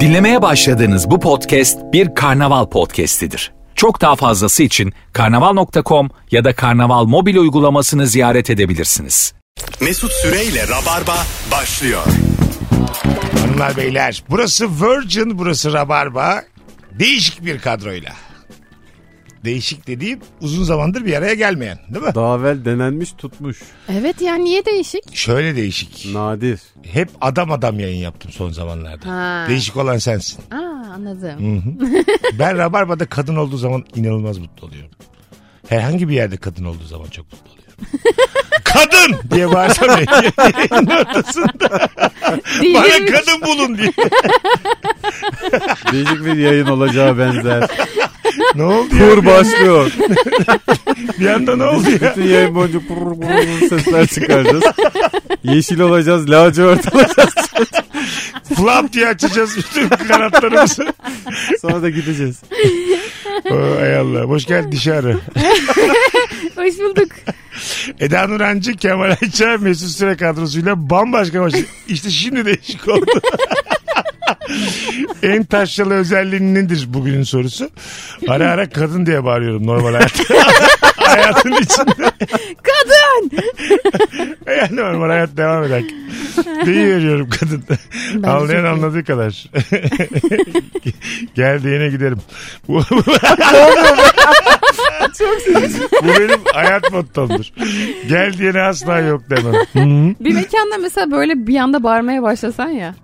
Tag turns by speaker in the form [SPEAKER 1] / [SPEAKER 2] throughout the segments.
[SPEAKER 1] Dinlemeye başladığınız bu podcast bir karnaval podcastidir. Çok daha fazlası için karnaval.com ya da karnaval mobil uygulamasını ziyaret edebilirsiniz.
[SPEAKER 2] Mesut Süreyle Rabarba başlıyor.
[SPEAKER 3] Hanımlar beyler burası Virgin burası Rabarba değişik bir kadroyla. Değişik dediğim uzun zamandır bir araya gelmeyen değil mi?
[SPEAKER 4] Daha evvel denenmiş tutmuş.
[SPEAKER 5] Evet ya niye değişik?
[SPEAKER 3] Şöyle değişik.
[SPEAKER 4] Nadir.
[SPEAKER 3] Hep adam adam yayın yaptım son zamanlarda.
[SPEAKER 5] Ha.
[SPEAKER 3] Değişik olan sensin.
[SPEAKER 5] Aa anladım.
[SPEAKER 3] Hmm. Ben Rabarba'da kadın olduğu zaman inanılmaz mutlu oluyorum. Herhangi bir yerde kadın olduğu zaman çok mutlu oluyorum. kadın diye bağırsam yayının ortasında bana
[SPEAKER 5] Değilmiş.
[SPEAKER 3] kadın bulun diye.
[SPEAKER 4] Değişik bir yayın olacağı benzer.
[SPEAKER 3] Ne oldu ya?
[SPEAKER 4] Pur başlıyor.
[SPEAKER 3] Bir anda ne oldu ya?
[SPEAKER 4] Bütün yayın boyunca pur pur pur sesler çıkaracağız. Yeşil olacağız, lacivert olacağız.
[SPEAKER 3] Flap diye açacağız bütün kanatlarımızı.
[SPEAKER 4] Sonra da gideceğiz.
[SPEAKER 3] Oo, Ay Allah. Hoş geldin dışarı.
[SPEAKER 5] Hoş bulduk.
[SPEAKER 3] Eda Nurancı, Kemal Ayça, Mesut Süre kadrosuyla bambaşka baş. İşte şimdi değişik oldu. en taşralı özelliğin nedir bugünün sorusu? Ara ara kadın diye bağırıyorum normal hayatta. Hayatın içinde.
[SPEAKER 5] Kadın!
[SPEAKER 3] Yani normal hayat devam eder. Deyi veriyorum kadın.
[SPEAKER 5] de
[SPEAKER 3] Anlayan
[SPEAKER 5] çok iyi.
[SPEAKER 3] anladığı kadar. Gel diyene giderim. Bu, bu benim hayat mottomdur. Gel diyene asla yok demem.
[SPEAKER 5] Bir mekanda mesela böyle bir anda bağırmaya başlasan ya.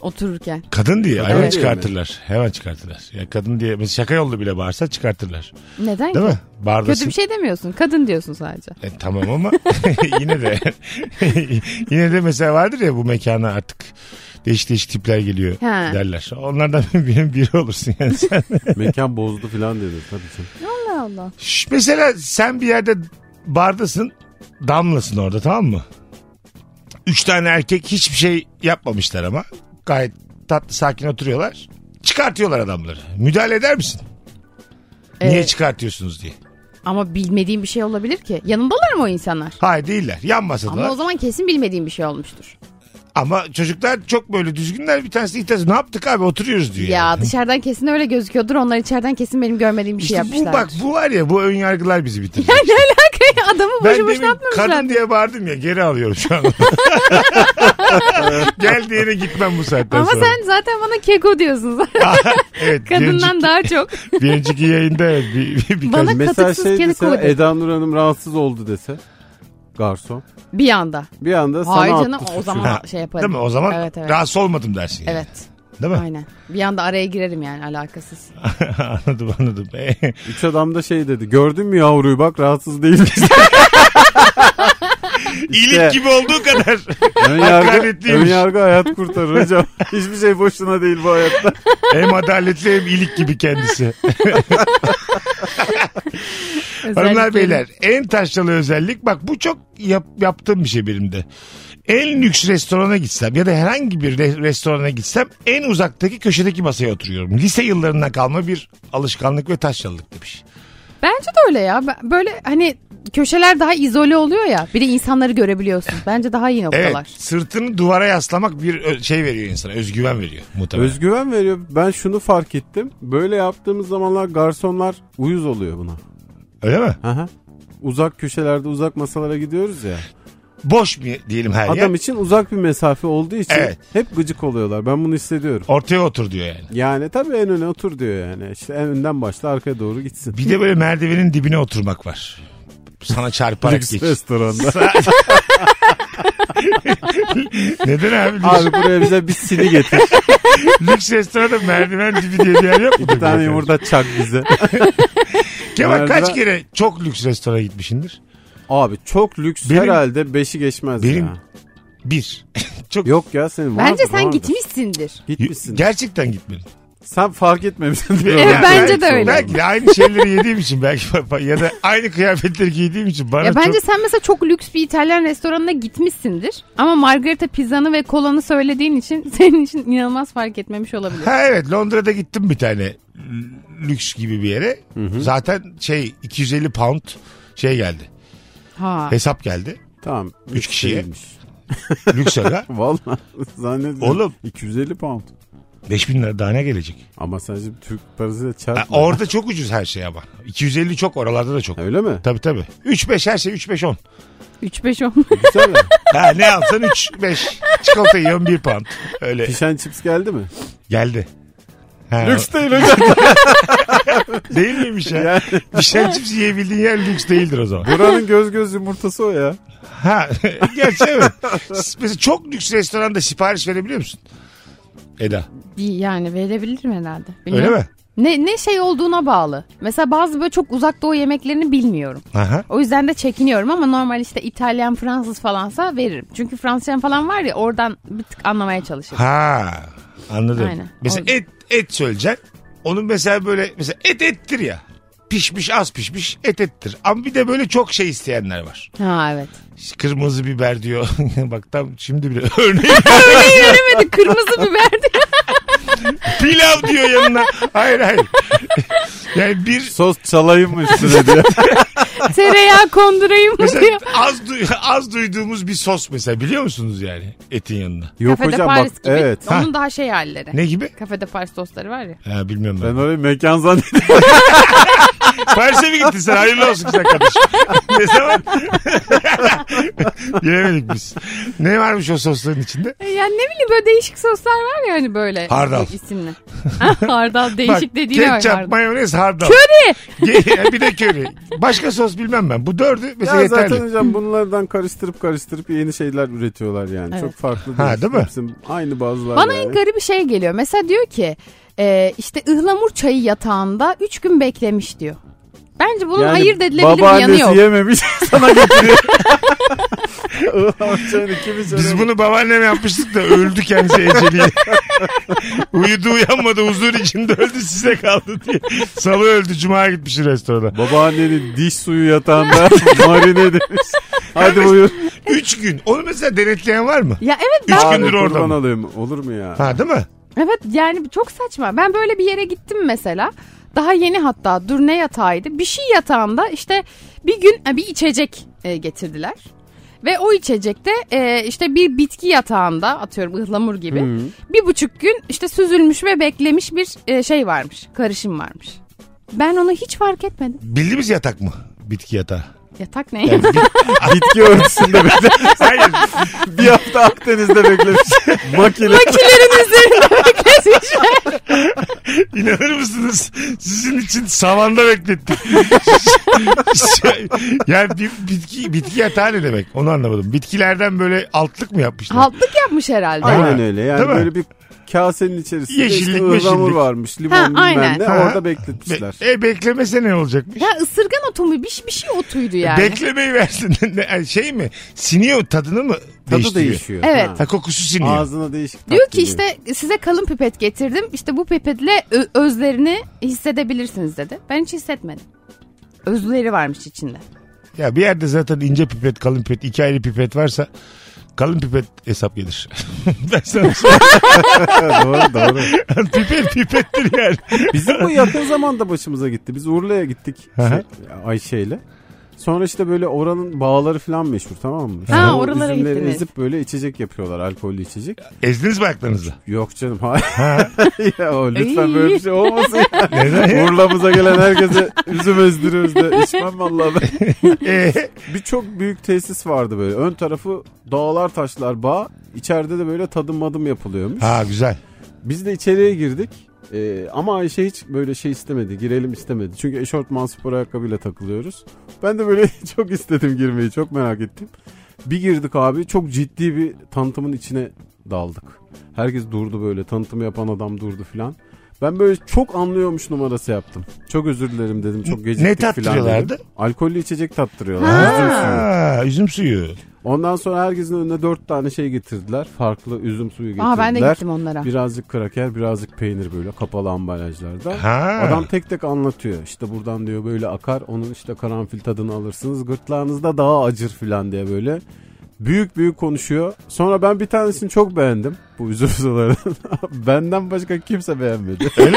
[SPEAKER 5] Otururken.
[SPEAKER 3] Kadın diye hemen
[SPEAKER 5] Evet.
[SPEAKER 3] çıkartırlar. Hemen çıkartırlar. Ya kadın diye mesela şaka yolda bile bağırsa çıkartırlar.
[SPEAKER 5] Neden
[SPEAKER 3] Değil
[SPEAKER 5] ki?
[SPEAKER 3] mi? Bağırdasın.
[SPEAKER 5] Kötü bir şey demiyorsun. Kadın diyorsun sadece.
[SPEAKER 3] E, tamam ama yine de yine de mesela vardır ya bu mekana artık değişik değişik tipler geliyor
[SPEAKER 5] Ha.
[SPEAKER 3] derler. Onlardan birinin biri olursun yani sen.
[SPEAKER 4] Mekan bozdu filan dedi tabii ki.
[SPEAKER 5] Allah Allah.
[SPEAKER 3] Şş, mesela sen bir yerde bardasın damlasın orada tamam mı? Üç tane erkek hiçbir şey yapmamışlar ama gayet tatlı sakin oturuyorlar. Çıkartıyorlar adamları. Müdahale eder misin? Niye
[SPEAKER 5] Ee,
[SPEAKER 3] çıkartıyorsunuz diye.
[SPEAKER 5] ama bilmediğim bir şey olabilir ki. Yanındalar mı o insanlar?
[SPEAKER 3] Hayır değiller. Yan masadalar.
[SPEAKER 5] Ama
[SPEAKER 3] Ama,
[SPEAKER 5] o zaman kesin bilmediğim bir şey olmuştur.
[SPEAKER 3] çocuklar çok böyle düzgünler. Bir tanesi ilk tanesi ne yaptık abi oturuyoruz diyor. yani.
[SPEAKER 5] Ya dışarıdan kesin öyle gözüküyordur. Onlar içeriden kesin benim görmediğim bir şey
[SPEAKER 3] İşte bu
[SPEAKER 5] yapmışlar.
[SPEAKER 3] bak bu var ya bu ön yargılar bizi bitirir.
[SPEAKER 5] ne alaka ya? Adamı
[SPEAKER 3] ben
[SPEAKER 5] boşu boşuna
[SPEAKER 3] demin
[SPEAKER 5] yapmamışlar.
[SPEAKER 3] kadın diye bağırdım ya geri alıyorum şu an. Gel diyene gitmem bu saatten
[SPEAKER 5] Ama
[SPEAKER 3] sonra.
[SPEAKER 5] sen zaten bana keko diyorsun. zaten.
[SPEAKER 3] evet,
[SPEAKER 5] Kadından
[SPEAKER 3] bir
[SPEAKER 5] daha çok.
[SPEAKER 3] önceki, bir önceki yayında evet, bir, bir, bir
[SPEAKER 5] Bana
[SPEAKER 4] Mesela
[SPEAKER 5] katıksız
[SPEAKER 4] şey
[SPEAKER 5] kedi
[SPEAKER 4] dese
[SPEAKER 5] koydu.
[SPEAKER 4] Eda Nur Hanım rahatsız oldu dese. Garson.
[SPEAKER 5] Bir anda.
[SPEAKER 4] Bir anda sana
[SPEAKER 5] Hayır
[SPEAKER 4] attı
[SPEAKER 5] canım o
[SPEAKER 4] suçu.
[SPEAKER 5] zaman
[SPEAKER 3] Ha,
[SPEAKER 5] şey yaparım.
[SPEAKER 3] Değil mi? O zaman
[SPEAKER 5] Evet evet.
[SPEAKER 3] rahatsız olmadım dersin. yani.
[SPEAKER 5] Evet.
[SPEAKER 3] Değil mi?
[SPEAKER 5] Aynen. Bir anda araya girerim yani alakasız.
[SPEAKER 3] anladım anladım.
[SPEAKER 4] Üç adam da şey dedi. Gördün mü yavruyu bak rahatsız değil.
[SPEAKER 3] İlik gibi olduğu kadar.
[SPEAKER 4] ön, yargı,
[SPEAKER 3] Hakaretliymiş.
[SPEAKER 4] ön yargı hayat kurtarır hocam. Hiçbir şey boşuna değil bu hayatta.
[SPEAKER 3] hem adaletli hem ilik gibi kendisi. Hanımlar
[SPEAKER 5] Özellikle-
[SPEAKER 3] beyler en taşralı özellik bak bu çok yap- yaptığım bir şey benim de. En lüks restorana gitsem ya da herhangi bir re- restorana gitsem en uzaktaki köşedeki masaya oturuyorum. Lise yıllarından kalma bir alışkanlık ve taşralılık demiş.
[SPEAKER 5] Bence de öyle ya. Ben- Böyle hani köşeler daha izole oluyor ya. Bir de insanları görebiliyorsun. Bence daha iyi
[SPEAKER 3] Evet
[SPEAKER 5] noktalar.
[SPEAKER 3] sırtını duvara yaslamak bir ö- şey veriyor insana özgüven veriyor muhtemelen.
[SPEAKER 4] Özgüven veriyor. Ben şunu fark ettim. Böyle yaptığımız zamanlar garsonlar uyuz oluyor buna.
[SPEAKER 3] Öyle mi?
[SPEAKER 4] Aha. Uzak köşelerde uzak masalara gidiyoruz ya.
[SPEAKER 3] Boş mu diyelim her yer?
[SPEAKER 4] Adam için uzak bir mesafe olduğu için
[SPEAKER 3] Evet.
[SPEAKER 4] hep gıcık oluyorlar. Ben bunu hissediyorum.
[SPEAKER 3] Ortaya otur diyor yani.
[SPEAKER 4] Yani tabii en öne otur diyor yani. İşte en önden başla arkaya doğru gitsin.
[SPEAKER 3] Bir de böyle merdivenin dibine oturmak var. Sana çarparak
[SPEAKER 4] Lüks
[SPEAKER 3] geç.
[SPEAKER 4] restoranda.
[SPEAKER 3] Neden abi? Lüks,
[SPEAKER 4] Abi buraya bize bir sini getir.
[SPEAKER 3] lüks restoranda merdiven dibi diye bir yer yok mu?
[SPEAKER 4] bir tane yumurta çak bize.
[SPEAKER 3] Kemal kaç
[SPEAKER 4] Merdiven-
[SPEAKER 3] kere çok lüks restorana gitmişsindir?
[SPEAKER 4] Abi çok lüks
[SPEAKER 3] Benim-
[SPEAKER 4] herhalde beşi geçmez
[SPEAKER 3] Benim-
[SPEAKER 4] ya.
[SPEAKER 3] Bir. çok
[SPEAKER 4] Yok ya senin vardır,
[SPEAKER 5] Bence sen
[SPEAKER 4] vardır.
[SPEAKER 5] gitmişsindir.
[SPEAKER 4] Gitmişsin.
[SPEAKER 3] Gerçekten gitmedim.
[SPEAKER 4] Sen fark etmemişsin.
[SPEAKER 5] Evet, bence de öyle.
[SPEAKER 3] Belki de aynı şeyleri yediğim için belki ya da aynı kıyafetleri giydiğim için bana
[SPEAKER 5] Ya bence
[SPEAKER 3] çok...
[SPEAKER 5] sen mesela çok lüks bir İtalyan restoranına gitmişsindir. Ama margarita pizzanı ve kolanı söylediğin için senin için inanılmaz fark etmemiş olabilir.
[SPEAKER 3] Ha evet Londra'da gittim bir tane l- lüks gibi bir yere. Zaten şey 250 pound şey geldi.
[SPEAKER 5] Ha.
[SPEAKER 3] Hesap geldi.
[SPEAKER 4] Tamam.
[SPEAKER 3] Üç kişiye.
[SPEAKER 4] değilmiş.
[SPEAKER 3] Lüks aga.
[SPEAKER 4] Valla zannediyorum.
[SPEAKER 3] Oğlum.
[SPEAKER 4] 250 pound.
[SPEAKER 3] 5000 lira daha ne gelecek?
[SPEAKER 4] Ama sen şimdi Türk parasıyla
[SPEAKER 3] Ha,
[SPEAKER 4] çarpma.
[SPEAKER 3] orada çok ucuz her şey ama. 250 çok oralarda da çok.
[SPEAKER 4] Öyle mi?
[SPEAKER 3] Tabii tabii. 3-5 her şey 3-5-10.
[SPEAKER 5] 3-5-10.
[SPEAKER 4] Güzel ya.
[SPEAKER 3] Ha ne yapsan 3-5. Çikolata yiyorsun 1 pound. Öyle
[SPEAKER 4] Pişen chips geldi mi?
[SPEAKER 3] geldi. Ha,
[SPEAKER 4] değil hocam.
[SPEAKER 3] Değil miymiş ya? Pişen cips yiyebildiğin yer lüks değildir o zaman.
[SPEAKER 4] Buranın göz göz yumurtası o ya.
[SPEAKER 3] Ha, gerçi evet. Mesela çok lüks restoranda sipariş verebiliyor musun? Eda.
[SPEAKER 5] Bir yani verebilirim herhalde.
[SPEAKER 3] Öyle
[SPEAKER 5] Bilmiyorum.
[SPEAKER 3] mi?
[SPEAKER 5] Ne, ne şey olduğuna bağlı. Mesela bazı böyle çok uzak doğu yemeklerini bilmiyorum.
[SPEAKER 3] Aha.
[SPEAKER 5] O yüzden de çekiniyorum ama normal işte İtalyan, Fransız falansa veririm. Çünkü Fransızcan falan var ya oradan bir tık anlamaya çalışırım.
[SPEAKER 3] Ha. Anladım.
[SPEAKER 5] Aynen.
[SPEAKER 3] Mesela
[SPEAKER 5] O-
[SPEAKER 3] et et söyleyeceksin. Onun mesela böyle mesela et ettir ya. Pişmiş az pişmiş et ettir. Ama bir de böyle çok şey isteyenler var.
[SPEAKER 5] Ha evet.
[SPEAKER 3] Kırmızı biber diyor. Bak tam şimdi bile örneğin
[SPEAKER 5] Örneği veremedi kırmızı biber diye.
[SPEAKER 3] pilav diyor yanına. Hayır hayır. Yani bir
[SPEAKER 4] Sos çalayım mı üstüne diye.
[SPEAKER 5] Tereyağı kondurayım mı
[SPEAKER 3] Mesela
[SPEAKER 5] diyor.
[SPEAKER 3] az, du- az duyduğumuz bir sos mesela biliyor musunuz yani etin yanında?
[SPEAKER 4] Yok
[SPEAKER 5] Kafede
[SPEAKER 4] hocam
[SPEAKER 5] Paris
[SPEAKER 4] bak
[SPEAKER 5] gibi.
[SPEAKER 4] evet.
[SPEAKER 5] Onun daha şey halleri.
[SPEAKER 3] Ne gibi?
[SPEAKER 5] Kafede Paris tostları var ya.
[SPEAKER 3] Ha, bilmiyorum ben.
[SPEAKER 4] Ben orayı mekan zannettim.
[SPEAKER 3] Paris'e mi gittin sen? Hayırlı olsun güzel kardeşim. ne zaman? Bilemedik biz. Ne varmış o sosların içinde?
[SPEAKER 5] E, Yani ne bileyim böyle değişik soslar var ya hani böyle.
[SPEAKER 3] Hardal.
[SPEAKER 5] isimli. Ha, hardal değişik dediğine var.
[SPEAKER 3] ketçap,
[SPEAKER 5] hardal.
[SPEAKER 3] mayonez, hardal.
[SPEAKER 5] Köri.
[SPEAKER 3] Ge- bir de köri. Başka sos bilmem ben. Bu dördü mesela
[SPEAKER 4] ya
[SPEAKER 3] Şey yeterli.
[SPEAKER 4] zaten hocam bunlardan karıştırıp karıştırıp yeni şeyler üretiyorlar yani.
[SPEAKER 5] Evet.
[SPEAKER 4] Çok farklı
[SPEAKER 3] Ha, değil mi?
[SPEAKER 4] Hepsi aynı bazılar
[SPEAKER 5] Bana
[SPEAKER 4] yani.
[SPEAKER 5] en garip bir şey geliyor. Mesela diyor ki e, işte ıhlamur çayı yatağında 3 gün beklemiş diyor. Bence bunun ayırt edilebilir bir yanı yok.
[SPEAKER 4] Babaannesi yememiş sana getiriyor. Ulan çayını kim içer?
[SPEAKER 3] Biz bunu babaanneme yapmıştık da öldü kendisi eceliye. Uyudu uyanmadı huzur içinde öldü size kaldı diye. Salı öldü cuma gitmiş restorana.
[SPEAKER 4] Babaannenin diş suyu yatağında marine edilmiş. Hadi buyur.
[SPEAKER 3] Üç gün. Onu mesela denetleyen var mı?
[SPEAKER 5] Ya evet
[SPEAKER 3] Üç
[SPEAKER 5] ben
[SPEAKER 3] gündür
[SPEAKER 4] Abi,
[SPEAKER 3] orada
[SPEAKER 4] kurban
[SPEAKER 3] mı?
[SPEAKER 4] olayım. Olur mu ya?
[SPEAKER 3] Ha değil mi?
[SPEAKER 5] evet yani çok saçma. Ben böyle bir yere gittim mesela. Daha yeni hatta dur ne yatağıydı. Bir şey yatağında işte bir gün e, bir içecek e, getirdiler. Ve o içecekte e, işte bir bitki yatağında atıyorum ıhlamur gibi. Bir buçuk gün işte süzülmüş ve beklemiş bir e, şey varmış. Karışım varmış. Ben onu hiç fark etmedim.
[SPEAKER 3] Bildiğimiz yatak mı? Bitki yatağı.
[SPEAKER 5] Yatak ne?
[SPEAKER 4] Bitki örtüsünde bekle.
[SPEAKER 3] Hayır.
[SPEAKER 4] bir hafta Akdeniz'de beklemiş. Makine.
[SPEAKER 5] Makilerin üzerinde bekletmişler.
[SPEAKER 3] İnanır mısınız? Sizin için savanda beklettik. yani bir bitki, bitki yatağı ne demek? Onu anlamadım. Bitkilerden böyle altlık mı yapmışlar?
[SPEAKER 5] Altlık yapmış herhalde.
[SPEAKER 4] Aynen öyle yani
[SPEAKER 3] Değil mi?
[SPEAKER 4] böyle bir kasenin içerisinde
[SPEAKER 3] Yeşillik,
[SPEAKER 4] işte ıhlamur
[SPEAKER 3] meşillik.
[SPEAKER 4] varmış limon
[SPEAKER 5] Ha, aynen.
[SPEAKER 4] bilmem ne
[SPEAKER 3] Ha.
[SPEAKER 4] orada
[SPEAKER 3] Be-
[SPEAKER 4] bekletmişler.
[SPEAKER 3] e beklemese ne olacakmış?
[SPEAKER 5] Ya ısırgan otu mu? Bir, bir şey otuydu yani.
[SPEAKER 3] Beklemeyi versin. Ne- yani şey mi? Siniyor tadını mı?
[SPEAKER 4] Tadı
[SPEAKER 3] değiştiriyor?
[SPEAKER 4] değişiyor.
[SPEAKER 5] Evet.
[SPEAKER 4] Ha.
[SPEAKER 3] Ha kokusu siniyor.
[SPEAKER 4] Ağzına değişik tat
[SPEAKER 5] Diyor ki
[SPEAKER 4] geliyor.
[SPEAKER 5] işte size kalın pipet getirdim. İşte bu pipetle ö- özlerini hissedebilirsiniz dedi. Ben hiç hissetmedim. Özleri varmış içinde.
[SPEAKER 3] Ya bir yerde zaten ince pipet, kalın pipet, iki ayrı pipet varsa kalın pipet hesap gelir. ben sana söyleyeyim.
[SPEAKER 4] doğru doğru.
[SPEAKER 3] pipet pipettir yani.
[SPEAKER 4] Bizim bu yakın zamanda başımıza gitti. Biz Urla'ya gittik
[SPEAKER 3] Hı hı.
[SPEAKER 4] şey, Ayşe'yle. Sonra işte böyle oranın bağları falan meşhur tamam mı? İşte
[SPEAKER 5] Ha,
[SPEAKER 4] o
[SPEAKER 5] oralara
[SPEAKER 4] üzümleri
[SPEAKER 5] gittiniz.
[SPEAKER 4] ezip böyle içecek yapıyorlar alkollü içecek.
[SPEAKER 3] Ezdiniz mi aklınızı?
[SPEAKER 4] Yok canım hayır. ya, o, lütfen
[SPEAKER 5] İyi.
[SPEAKER 4] böyle bir şey olmasın. ya.
[SPEAKER 3] Neden ya?
[SPEAKER 4] Urla'mıza gelen herkese üzüm ezdiriyoruz da içmem vallahi. ben.
[SPEAKER 3] Ee,
[SPEAKER 4] Birçok büyük tesis vardı böyle. Ön tarafı dağlar taşlar bağ. İçeride de böyle tadım madım yapılıyormuş.
[SPEAKER 3] ha güzel.
[SPEAKER 4] Biz de içeriye girdik. Ee, ama Ayşe hiç böyle şey istemedi. Girelim istemedi. Çünkü eşortman spor ayakkabıyla takılıyoruz. Ben de böyle çok istedim girmeyi. Çok merak ettim. Bir girdik abi. Çok ciddi bir tanıtımın içine daldık. Herkes durdu böyle. Tanıtım yapan adam durdu filan. Ben böyle çok anlıyormuş numarası yaptım. Çok özür dilerim dedim. Çok geciktik
[SPEAKER 3] ne
[SPEAKER 4] filan
[SPEAKER 3] tattırıyorlardı?
[SPEAKER 4] dedim. Alkollü içecek tattırıyorlar. Üzüm suyu.
[SPEAKER 3] Ha, üzüm suyu.
[SPEAKER 4] Ondan sonra herkesin önüne dört tane şey getirdiler. Farklı üzüm suyu getirdiler.
[SPEAKER 5] Aa ben de gittim onlara.
[SPEAKER 4] Birazcık kraker, birazcık peynir böyle kapalı ambalajlarda.
[SPEAKER 3] Ha.
[SPEAKER 4] Adam tek tek anlatıyor. İşte buradan diyor böyle akar. Onun işte karanfil tadını alırsınız. Gırtlağınızda daha acır filan diye böyle. Büyük büyük konuşuyor. Sonra ben bir tanesini çok beğendim. Bu üzüm sularının. Benden başka kimse beğenmedi.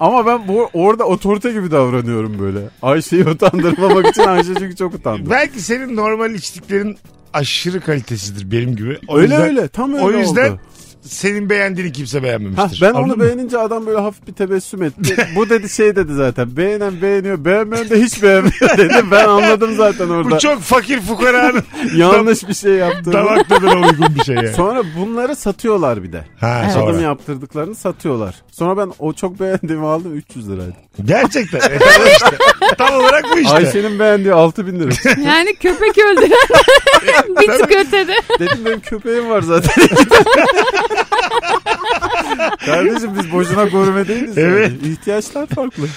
[SPEAKER 4] Ama ben bu, orada otorite gibi davranıyorum böyle. Ayşe'yi utandırmamak için Ayşe çünkü çok utandı.
[SPEAKER 3] Belki senin normal içtiklerin aşırı kalitesidir benim gibi. O
[SPEAKER 4] Öyle
[SPEAKER 3] yüzden-
[SPEAKER 4] öyle, tam öyle
[SPEAKER 3] O yüzden
[SPEAKER 4] oldu.
[SPEAKER 3] senin beğendiğini kimse
[SPEAKER 4] Hah,
[SPEAKER 3] beğenmemiştir.
[SPEAKER 4] ben
[SPEAKER 3] Anladın
[SPEAKER 4] onu
[SPEAKER 3] mı?
[SPEAKER 4] beğenince adam böyle hafif bir tebessüm etti. Bu dedi şey dedi zaten. Beğenen beğeniyor, beğenmeyen de hiç beğenmiyor dedi. Ben anladım zaten orada.
[SPEAKER 3] Bu çok fakir fukaranın
[SPEAKER 4] Yanlış bir şey yaptığını.
[SPEAKER 3] damak tadına uygun bir şey yani.
[SPEAKER 4] Sonra bunları satıyorlar bir de.
[SPEAKER 3] Ha,
[SPEAKER 5] Evet.
[SPEAKER 3] sonra.
[SPEAKER 4] Adam yaptırdıklarını satıyorlar. Sonra ben o çok beğendiğimi aldım 300 liraydı.
[SPEAKER 3] Gerçekten. Evet işte. Tam olarak bu işte.
[SPEAKER 4] Ayşe'nin beğendiği 6000 lira.
[SPEAKER 5] Yani köpek öldüren bir tık ötede.
[SPEAKER 4] Dedim benim köpeğim var zaten. Kardeşim biz boşuna gurme değiliz.
[SPEAKER 3] Evet.
[SPEAKER 4] Yani. İhtiyaçlar farklı.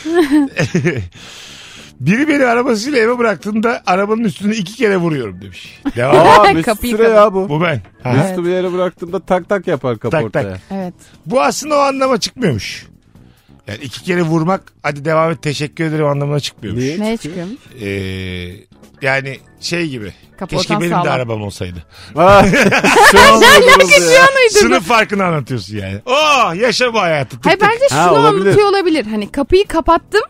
[SPEAKER 3] Biri beni arabasıyla eve bıraktığında arabanın üstüne iki kere vuruyorum demiş. Devam.
[SPEAKER 4] Aa Mesut
[SPEAKER 5] Kapıyı
[SPEAKER 4] Süre
[SPEAKER 5] kapat.
[SPEAKER 4] ya bu.
[SPEAKER 3] bu ben. Ha.
[SPEAKER 4] Mesut'u bir yere bıraktığımda tak tak yapar kaportaya.
[SPEAKER 3] tak.
[SPEAKER 5] Evet.
[SPEAKER 3] Bu aslında o anlama çıkmıyormuş. Yani iki kere vurmak hadi devam et teşekkür ederim anlamına çıkmıyormuş.
[SPEAKER 4] Niye?
[SPEAKER 5] Ne çıkıyormuş?
[SPEAKER 3] Ee, yani şey gibi.
[SPEAKER 5] Kaportan
[SPEAKER 3] keşke benim de
[SPEAKER 5] sağlam.
[SPEAKER 3] arabam olsaydı.
[SPEAKER 4] Aa, şu an oluruz ya.
[SPEAKER 3] Sınıf farkını anlatıyorsun yani. Oh yaşa bu hayatı. Tık
[SPEAKER 5] Hayır
[SPEAKER 3] tık.
[SPEAKER 5] bence şunu
[SPEAKER 4] Ha, olabilir.
[SPEAKER 5] anlatıyor olabilir. Hani kapıyı kapattım.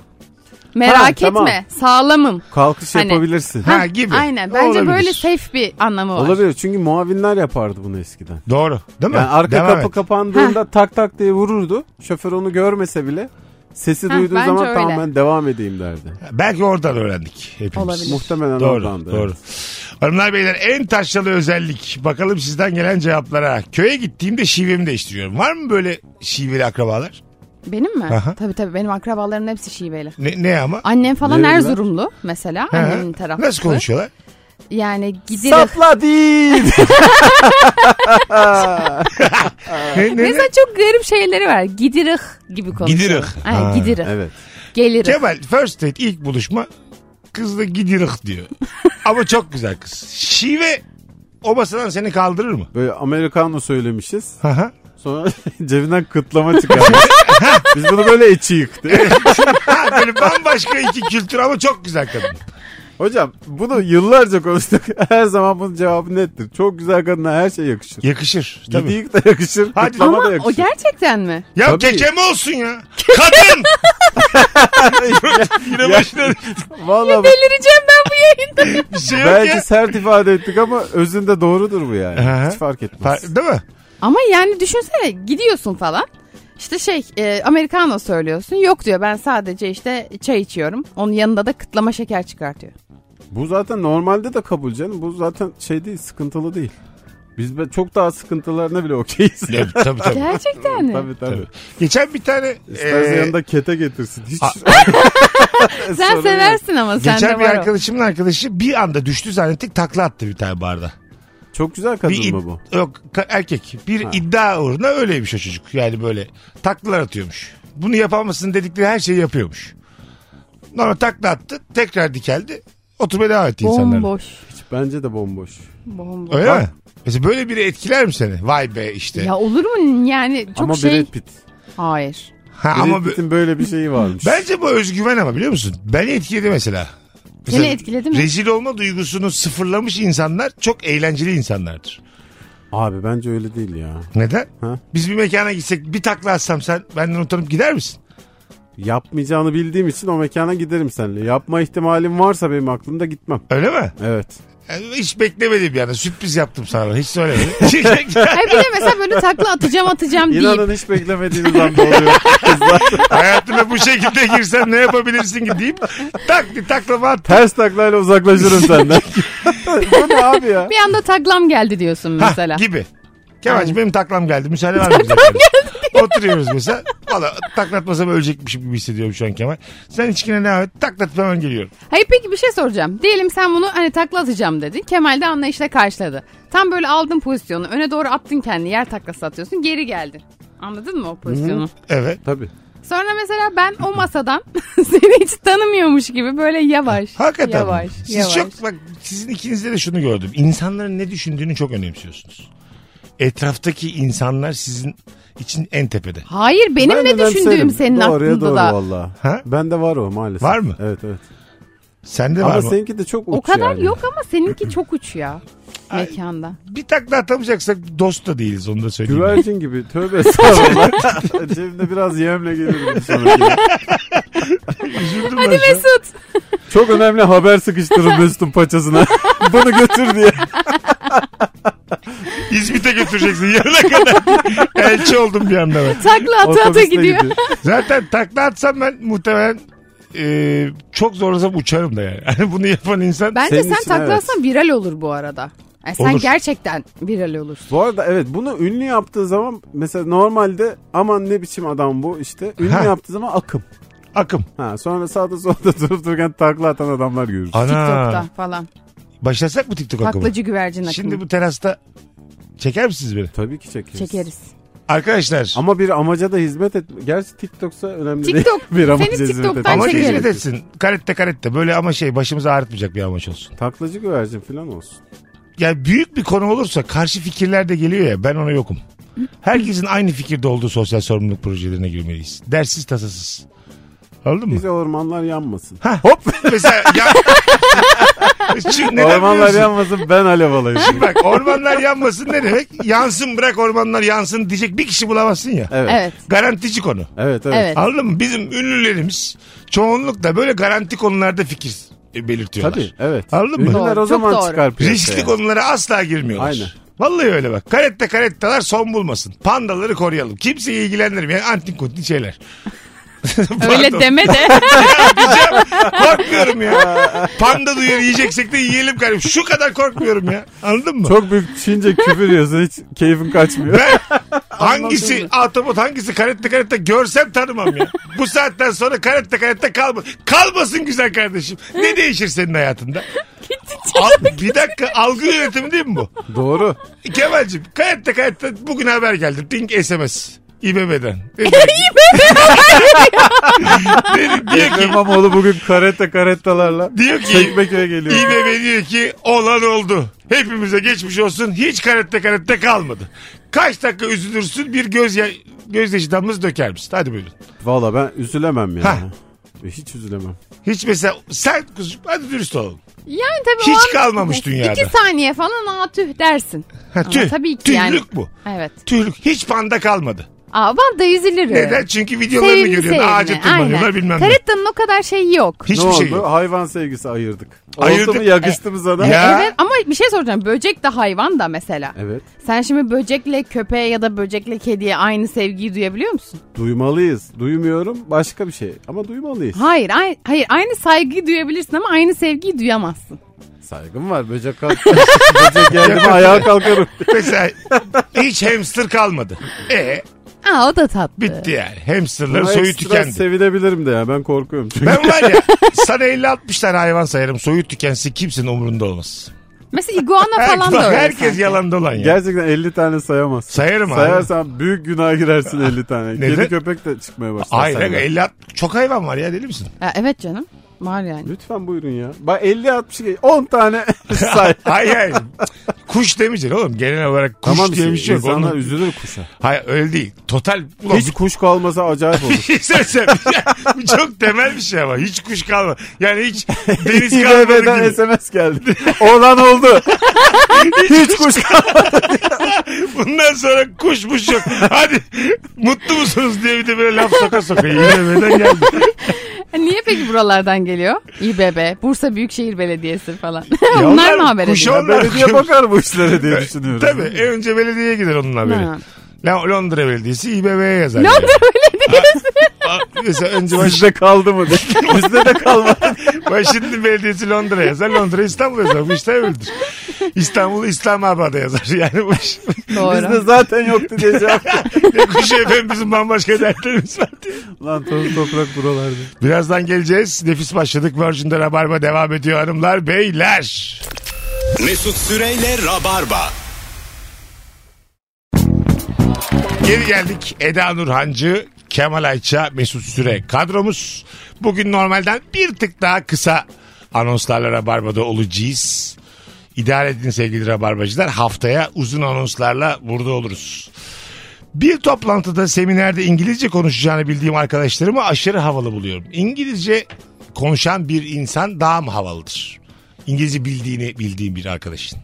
[SPEAKER 5] Merak
[SPEAKER 4] Ha,
[SPEAKER 5] etme.
[SPEAKER 4] tamam.
[SPEAKER 5] Sağlamım.
[SPEAKER 4] Kalkış
[SPEAKER 5] Hani-
[SPEAKER 4] yapabilirsin.
[SPEAKER 3] Ha, gibi.
[SPEAKER 5] Aynen. Bence
[SPEAKER 3] Olabilir.
[SPEAKER 5] böyle safe bir anlamı var.
[SPEAKER 4] Olabilir çünkü muavinler yapardı bunu eskiden.
[SPEAKER 3] Doğru değil mi?
[SPEAKER 4] Yani arka
[SPEAKER 3] Devam
[SPEAKER 4] kapı
[SPEAKER 3] et.
[SPEAKER 4] kapandığında tak tak diye vururdu. Şoför onu görmese bile sesi
[SPEAKER 5] Heh,
[SPEAKER 4] duyduğu
[SPEAKER 5] bence
[SPEAKER 4] zaman
[SPEAKER 5] öyle.
[SPEAKER 4] tamam ben devam edeyim derdi.
[SPEAKER 3] Belki oradan öğrendik hepimiz.
[SPEAKER 5] Olabilir.
[SPEAKER 4] Muhtemelen
[SPEAKER 3] Doğru,
[SPEAKER 4] oradandı.
[SPEAKER 3] doğru. Hanımlar beyler en taşralı özellik. Bakalım sizden gelen cevaplara. Köye gittiğimde şivemi değiştiriyorum. Var mı böyle şiveli akrabalar?
[SPEAKER 5] Benim mi?
[SPEAKER 3] Aha.
[SPEAKER 5] Tabii tabii benim akrabalarımın hepsi Şiveli.
[SPEAKER 3] Ne, ne ama?
[SPEAKER 5] Annem falan
[SPEAKER 4] Nereliler?
[SPEAKER 5] Erzurumlu mesela.
[SPEAKER 3] Ha,
[SPEAKER 5] Annemin tarafı.
[SPEAKER 3] Nasıl konuşuyorlar?
[SPEAKER 5] Yani gidilir.
[SPEAKER 4] Sapla değil.
[SPEAKER 3] Ne, ne, ne?
[SPEAKER 5] Mesela çok garip şeyleri var. Gidirik gibi konuşuyor.
[SPEAKER 3] Gidirik. Ha.
[SPEAKER 5] Ay, gidirik.
[SPEAKER 4] evet.
[SPEAKER 5] Gelirik.
[SPEAKER 3] Kemal first date ilk buluşma kızla gidirik diyor. ama çok güzel kız. Şive o masadan seni kaldırır mı?
[SPEAKER 4] Böyle Amerikanlı söylemişiz.
[SPEAKER 3] Aha.
[SPEAKER 4] Sonra cebinden kıtlama çıkarmış. Biz bunu böyle içi yıktık.
[SPEAKER 3] Ha, böyle bambaşka iki kültür ama çok güzel kadın.
[SPEAKER 4] Hocam bunu yıllarca konuştuk. Her zaman bunun cevabı nettir. Çok güzel kadına her şey yakışır.
[SPEAKER 3] Yakışır. Tabii.
[SPEAKER 4] Gidik de yakışır,
[SPEAKER 3] Hadi.
[SPEAKER 4] kıtlama
[SPEAKER 5] Ama
[SPEAKER 4] da
[SPEAKER 5] o
[SPEAKER 4] yakışır.
[SPEAKER 5] gerçekten mi?
[SPEAKER 3] Ya
[SPEAKER 4] Tabii.
[SPEAKER 3] keke mi olsun ya? Kadın! Yine başına
[SPEAKER 4] Vallahi bak,
[SPEAKER 5] Delireceğim ben bu yayında.
[SPEAKER 3] bir şey yok ya.
[SPEAKER 4] belki sert ifade ettik ama özünde doğrudur bu yani.
[SPEAKER 3] Aha.
[SPEAKER 4] Hiç fark etmez.
[SPEAKER 3] Fa- Değil mi?
[SPEAKER 5] Ama yani düşünsene gidiyorsun falan. İşte şey e, Americano söylüyorsun. Yok diyor ben sadece işte çay içiyorum. Onun yanında da kıtlama şeker çıkartıyor.
[SPEAKER 4] Bu zaten normalde de kabul canım. Bu zaten şey değil, sıkıntılı değil. Biz be- çok daha sıkıntılarına bile okeyiz.
[SPEAKER 3] Ya, tabii tabii.
[SPEAKER 5] Gerçekten mi?
[SPEAKER 4] tabii tabii.
[SPEAKER 3] Geçen bir tane e,
[SPEAKER 4] İstersen
[SPEAKER 3] eee,
[SPEAKER 4] yanında kete getirsin. Hiç.
[SPEAKER 5] Sen
[SPEAKER 4] Sorun yok.
[SPEAKER 5] seversin ama sen de
[SPEAKER 3] geçen bir
[SPEAKER 5] var o.
[SPEAKER 3] arkadaşımın arkadaşı bir anda düştü zannettik takla attı bir tane barda.
[SPEAKER 4] Çok güzel kadın
[SPEAKER 3] bir
[SPEAKER 4] mı
[SPEAKER 3] id-
[SPEAKER 4] bu?
[SPEAKER 3] Yok ka- erkek. Bir iddia uğruna öyleymiş o çocuk. Yani böyle taklalar atıyormuş. Bunu yapamazsın dedikleri her şeyi yapıyormuş. Normal takla attı. Tekrar dikeldi. Oturmaya devam etti insanlar.
[SPEAKER 5] Bomboş.
[SPEAKER 4] Hiç bence de bomboş.
[SPEAKER 5] Bomboş.
[SPEAKER 3] Öyle mi? Mesela böyle biri etkiler mi seni? Vay be işte.
[SPEAKER 5] Ya olur mu yani çok
[SPEAKER 4] ama
[SPEAKER 5] şey.
[SPEAKER 4] Brad Pitt.
[SPEAKER 5] Hayır.
[SPEAKER 3] ha, ama
[SPEAKER 4] Brad
[SPEAKER 3] bu-
[SPEAKER 4] Pitt'in böyle bir şeyi varmış.
[SPEAKER 3] bence bu özgüven ama biliyor musun? Beni etkiledi mesela.
[SPEAKER 5] Seni
[SPEAKER 3] Mesela
[SPEAKER 5] etkiledi mi?
[SPEAKER 3] Rezil olma duygusunu sıfırlamış insanlar çok eğlenceli insanlardır.
[SPEAKER 4] Abi bence öyle değil ya.
[SPEAKER 3] Neden?
[SPEAKER 4] Ha?
[SPEAKER 3] Biz bir mekana gitsek bir takla atsam sen benden utanıp gider misin?
[SPEAKER 4] Yapmayacağını bildiğim için o mekana giderim seninle. Yapma ihtimalim varsa benim aklımda gitmem.
[SPEAKER 3] Öyle mi?
[SPEAKER 4] Evet.
[SPEAKER 3] Yani hiç beklemedim yani. Sürpriz yaptım sana. Hiç söylemedim.
[SPEAKER 5] Hayır bir de mesela böyle takla atacağım atacağım deyip.
[SPEAKER 4] İnanın hiç beklemediğiniz anda oluyor. Kızlar
[SPEAKER 3] Hayatıma bu şekilde girsen ne yapabilirsin ki deyip tak bir taklama at.
[SPEAKER 4] ters taklayla uzaklaşırım senden. bu ne abi ya?
[SPEAKER 5] Bir anda taklam geldi diyorsun
[SPEAKER 3] Ha,
[SPEAKER 5] mesela.
[SPEAKER 3] Ah, gibi. Kemal'cim
[SPEAKER 5] Aynen.
[SPEAKER 3] benim taklam geldi. Müsaade var mı? bize? Oturuyoruz mesela. Valla taklatmasam ölecekmişim gibi hissediyorum şu an Kemal. Sen içkine devam et. Taklatıp hemen geliyorum.
[SPEAKER 5] Hayır peki bir şey soracağım. Diyelim sen bunu hani takla atacağım dedin. Kemal de anlayışla karşıladı. Tam böyle aldın pozisyonu. Öne doğru attın kendini. Yer taklası atıyorsun. Geri geldin. Anladın mı o pozisyonu?
[SPEAKER 3] Evet.
[SPEAKER 4] Tabii.
[SPEAKER 5] Sonra mesela ben o masadan seni hiç tanımıyormuş gibi böyle yavaş.
[SPEAKER 3] Hakikaten.
[SPEAKER 5] Yavaş.
[SPEAKER 3] Siz
[SPEAKER 5] yavaş.
[SPEAKER 3] çok bak sizin ikinizde de şunu gördüm. İnsanların ne düşündüğünü çok önemsiyorsunuz. Etraftaki insanlar sizin için en tepede.
[SPEAKER 5] Hayır benim
[SPEAKER 4] Ben
[SPEAKER 5] ne
[SPEAKER 4] önemserim.
[SPEAKER 5] düşündüğüm senin
[SPEAKER 4] Doğruya
[SPEAKER 5] aklında
[SPEAKER 4] doğru
[SPEAKER 5] da.
[SPEAKER 4] Valla.
[SPEAKER 3] Ha?
[SPEAKER 4] Ben de var o maalesef.
[SPEAKER 3] Var mı?
[SPEAKER 4] Evet evet.
[SPEAKER 3] Sende var
[SPEAKER 4] Ama
[SPEAKER 3] mı?
[SPEAKER 4] seninki de çok uç
[SPEAKER 5] O kadar
[SPEAKER 4] yani.
[SPEAKER 5] yok ama seninki çok uç ya. mekanda.
[SPEAKER 3] Bir takla atamayacaksak dost da değiliz onu da söyleyeyim.
[SPEAKER 4] Güvercin gibi. Tövbe estağfurullah. Cebimde biraz yemle gelirim bir sonraki.
[SPEAKER 3] Üzüldüm ben şu an.
[SPEAKER 5] Mesut.
[SPEAKER 4] Çok önemli haber sıkıştırın Mesut'un paçasına. Bunu götür diye.
[SPEAKER 3] İzmit'e götüreceksin yarına kadar. Elçi oldum bir anda ben.
[SPEAKER 5] Takla ata ata
[SPEAKER 4] Otobüsle
[SPEAKER 5] gidiyor.
[SPEAKER 3] Zaten takla atsam ben muhtemelen e, çok zorlasam uçarım da yani. yani. Bunu yapan insan
[SPEAKER 5] Bence
[SPEAKER 4] Senin
[SPEAKER 5] sen
[SPEAKER 4] için evet.
[SPEAKER 5] takla atsan viral olur bu arada. Yani sen
[SPEAKER 3] Olur.
[SPEAKER 5] gerçekten viral olursun.
[SPEAKER 4] Bu arada evet bunu ünlü yaptığı zaman mesela normalde aman ne biçim adam bu işte. Ünlü
[SPEAKER 3] Ha.
[SPEAKER 4] yaptığı zaman akım.
[SPEAKER 3] akım.
[SPEAKER 4] Ha, sonra sağda solda durup dururken takla atan adamlar görürüz.
[SPEAKER 3] Ana.
[SPEAKER 5] TikTok'ta falan.
[SPEAKER 3] Başlasak mı TikTok akımı?
[SPEAKER 5] Taklacı güvercin akımı.
[SPEAKER 3] Şimdi bu terasta çeker misiniz beni?
[SPEAKER 4] Tabii ki çekeriz.
[SPEAKER 5] çekeriz.
[SPEAKER 3] Arkadaşlar
[SPEAKER 4] Ama bir amaca da hizmet et. Gerçi TikTok'sa önemli
[SPEAKER 5] Tiktok.
[SPEAKER 4] değil. bir amaca
[SPEAKER 5] Seni
[SPEAKER 4] hizmet
[SPEAKER 5] TikTok'tan
[SPEAKER 4] etmez.
[SPEAKER 3] ama
[SPEAKER 5] çekeriz.
[SPEAKER 3] hizmet etsin. Karette karette böyle ama şey başımızı ağrıtmayacak bir amaç olsun.
[SPEAKER 4] Taklacı güvercin falan olsun.
[SPEAKER 3] Yani büyük bir konu olursa karşı fikirler de geliyor ya ben ona yokum. Herkesin aynı fikirde olduğu sosyal sorumluluk projelerine girmeliyiz. Dersiz tasasız. Anladın mı?
[SPEAKER 4] Bize ormanlar yanmasın.
[SPEAKER 3] Ha, hop mesela ya... Çünkü neden
[SPEAKER 4] ormanlar
[SPEAKER 3] biliyorsun?
[SPEAKER 4] yanmasın ben alev alayım.
[SPEAKER 3] Şimdi bak ormanlar yanmasın ne demek? Yansın bırak ormanlar yansın diyecek bir kişi bulamazsın ya.
[SPEAKER 4] Evet. Evet.
[SPEAKER 5] Evet.
[SPEAKER 3] Garantici konu.
[SPEAKER 4] Evet.
[SPEAKER 5] Evet.
[SPEAKER 3] Anladın mı? Bizim ünlülerimiz çoğunlukla böyle garanti konularda fikir e, belirtiyorlar.
[SPEAKER 4] Tabii evet.
[SPEAKER 3] Anladın mı?
[SPEAKER 4] Ünlüler
[SPEAKER 5] Doğru,
[SPEAKER 4] o
[SPEAKER 5] çok
[SPEAKER 4] zaman
[SPEAKER 5] doğru.
[SPEAKER 4] çıkar piyasaya.
[SPEAKER 3] Riskli konulara asla girmiyorlar.
[SPEAKER 4] Aynen.
[SPEAKER 3] Vallahi öyle bak. Karette karettalar son bulmasın. Pandaları koruyalım. Kimseyi ilgilendirmeyen antin kuntin şeyler.
[SPEAKER 5] Öyle
[SPEAKER 3] Pardon.
[SPEAKER 5] deme de.
[SPEAKER 3] Diyeceğim, korkmuyorum ya. Panda duyar yiyeceksek de yiyelim kardeşim. Şu kadar korkmuyorum ya. Anladın mı?
[SPEAKER 4] Çok büyük Çince küfür yiyorsun hiç keyfin kaçmıyor.
[SPEAKER 3] Ben hangisi ahtapot hangisi karette karette görsem tanımam ya. Bu saatten sonra karette karette kalma. Kalmasın güzel kardeşim. Ne değişir senin hayatında? Al- bir dakika algı yönetimi değil mi bu?
[SPEAKER 4] Doğru.
[SPEAKER 3] Kemal'cim karette karette bugün haber geldi. Ding SMS. İBB'den. İBB. diyor ki,
[SPEAKER 4] İmamoğlu bugün karette karettalarla
[SPEAKER 3] diyor ki
[SPEAKER 4] Çekmeköy'e geliyor.
[SPEAKER 3] İBB diyor ki olan oldu. Hepimize geçmiş olsun. Hiç karette karette kalmadı. Kaç dakika üzülürsün bir göz gözyaşı damlası döker misin? Hadi buyurun.
[SPEAKER 4] Valla ben üzülemem ya.
[SPEAKER 3] Ha.
[SPEAKER 4] Hiç üzülemem.
[SPEAKER 3] Hiç mesela sen kuzum hadi dürüst olalım.
[SPEAKER 5] Yani tabii o
[SPEAKER 3] Hiç
[SPEAKER 5] an-
[SPEAKER 3] kalmamış dünyada.
[SPEAKER 5] İki saniye falan aa tüh dersin.
[SPEAKER 3] Ha,
[SPEAKER 5] Ama
[SPEAKER 3] tüh,
[SPEAKER 5] tabii ki
[SPEAKER 3] tühlük
[SPEAKER 5] yani.
[SPEAKER 3] bu.
[SPEAKER 5] Evet.
[SPEAKER 3] Tüylük hiç panda kalmadı.
[SPEAKER 5] Aa ben de üzülürüm.
[SPEAKER 3] Neden? Çünkü videolarını
[SPEAKER 5] Sevimli
[SPEAKER 3] görüyorsun.
[SPEAKER 5] sevimli,
[SPEAKER 3] Ağaca tırmanıyorlar
[SPEAKER 5] aynen.
[SPEAKER 3] bilmem ne.
[SPEAKER 5] Karetta'nın o kadar şeyi yok.
[SPEAKER 3] Hiçbir
[SPEAKER 4] ne
[SPEAKER 3] şey
[SPEAKER 4] oldu?
[SPEAKER 3] yok.
[SPEAKER 4] Hayvan sevgisi ayırdık.
[SPEAKER 3] Ayırdık.
[SPEAKER 4] Oldu mu yakıştı mı sana?
[SPEAKER 3] Ya.
[SPEAKER 5] Evet ama bir şey soracağım. Böcek de hayvan da mesela.
[SPEAKER 4] Evet.
[SPEAKER 5] Sen şimdi böcekle köpeğe ya da böcekle kediye aynı sevgiyi duyabiliyor musun?
[SPEAKER 4] Duymalıyız. Duymuyorum başka bir şey. Ama duymalıyız.
[SPEAKER 5] Hayır, ay- hayır aynı saygıyı duyabilirsin ama aynı sevgiyi duyamazsın.
[SPEAKER 4] Saygım var. Böcek kalk. Böcek geldi mi ayağa kalkarım.
[SPEAKER 3] Mesela hiç hamster kalmadı. E
[SPEAKER 5] Aa o da tatlı.
[SPEAKER 3] bitti yani. Hamsterların
[SPEAKER 4] Ama
[SPEAKER 3] soyu
[SPEAKER 4] ekstra
[SPEAKER 3] tükendi.
[SPEAKER 4] Sevinebilirim de ya ben korkuyorum. Çünkü
[SPEAKER 3] ben var ya sana 50-60 tane hayvan sayarım. Soyu tükensin kimsenin umurunda olmaz.
[SPEAKER 5] Mesela iguana
[SPEAKER 3] Her-
[SPEAKER 5] falan
[SPEAKER 3] bak,
[SPEAKER 5] da öyle.
[SPEAKER 3] Herkes
[SPEAKER 5] sanki.
[SPEAKER 3] yalan dolan ya.
[SPEAKER 4] gerçekten 50 tane sayamaz.
[SPEAKER 3] Sayarım abi.
[SPEAKER 4] Sayarsan büyük günaha girersin 50 tane.
[SPEAKER 3] Neden?
[SPEAKER 4] Kedi köpek de çıkmaya başlar.
[SPEAKER 3] Hayır
[SPEAKER 4] senden.
[SPEAKER 3] aga, 50 at- çok hayvan var ya deli misin?
[SPEAKER 5] Ha, evet canım. Var yani.
[SPEAKER 4] Lütfen buyurun ya. Bak 50 60 10 tane say.
[SPEAKER 3] hayır hayır. Kuş demeyeceksin oğlum genel olarak kuş diye
[SPEAKER 4] tamam işte
[SPEAKER 3] bir şey yok.
[SPEAKER 4] insanlar
[SPEAKER 3] Onun-
[SPEAKER 4] üzülür kuşa.
[SPEAKER 3] Hayır öyle değil. Total. Ulan
[SPEAKER 4] Hiç kuş kalmasa acayip olur.
[SPEAKER 3] bir şey söyleyeceğim. Bu çok temel bir şey ama. Hiç kuş kalma. Yani hiç deniz kalmadı
[SPEAKER 4] İBB'den
[SPEAKER 3] gibi.
[SPEAKER 4] SMS geldi. Olan oldu. Hiç kuş kalmadı.
[SPEAKER 3] Bundan sonra kuş muş yok. Hadi mutlu musunuz diye bir de böyle laf soka soka. İBB'den geldi.
[SPEAKER 5] Ha, Niye peki buralardan geliyor? İBB, Bursa Büyükşehir Belediyesi falan.
[SPEAKER 3] Ya
[SPEAKER 5] Onlar mı haber
[SPEAKER 3] kuşa
[SPEAKER 5] ediyor?
[SPEAKER 3] onlar
[SPEAKER 4] Belediye
[SPEAKER 3] bakıyor.
[SPEAKER 4] bakar bu işlere diye düşünüyorum.
[SPEAKER 3] Tabii en E, önce belediyeye gider onun haberi.
[SPEAKER 5] Ha.
[SPEAKER 3] La- Londra Belediyesi İBB'ye yazar. yani.
[SPEAKER 5] Londra Belediyesi.
[SPEAKER 3] Aa, Mesela önce baş,
[SPEAKER 4] Bizde kaldı mı? diye. Bizde de kalmadı.
[SPEAKER 3] Washington Belediyesi Londra yazar. Londra İstanbul yazar. Bu işte öyledir. İstanbul İslamabad'a yazar. Yani bu iş.
[SPEAKER 4] Bizde
[SPEAKER 5] Doğru.
[SPEAKER 4] zaten yoktu diye cevap.
[SPEAKER 3] ne kuşu efendim bizim bambaşka dertlerimiz var diye.
[SPEAKER 4] Lan toz toprak buralarda.
[SPEAKER 3] Birazdan geleceğiz. Nefis başladık. Virgin'de Rabarba devam ediyor hanımlar beyler.
[SPEAKER 2] Mesut Süreyle Rabarba.
[SPEAKER 3] Geri geldik. Eda Nurhancı, Kemal Ayça, Mesut Süre kadromuz. Bugün normalden bir tık daha kısa anonslarla Rabarba'da olacağız. İdare edin sevgili Rabarbacılar. Haftaya uzun anonslarla burada oluruz. Bir toplantıda seminerde İngilizce konuşacağını bildiğim arkadaşlarımı aşırı havalı buluyorum. İngilizce konuşan bir insan daha mı havalıdır? İngilizce bildiğini bildiğim bir arkadaşın.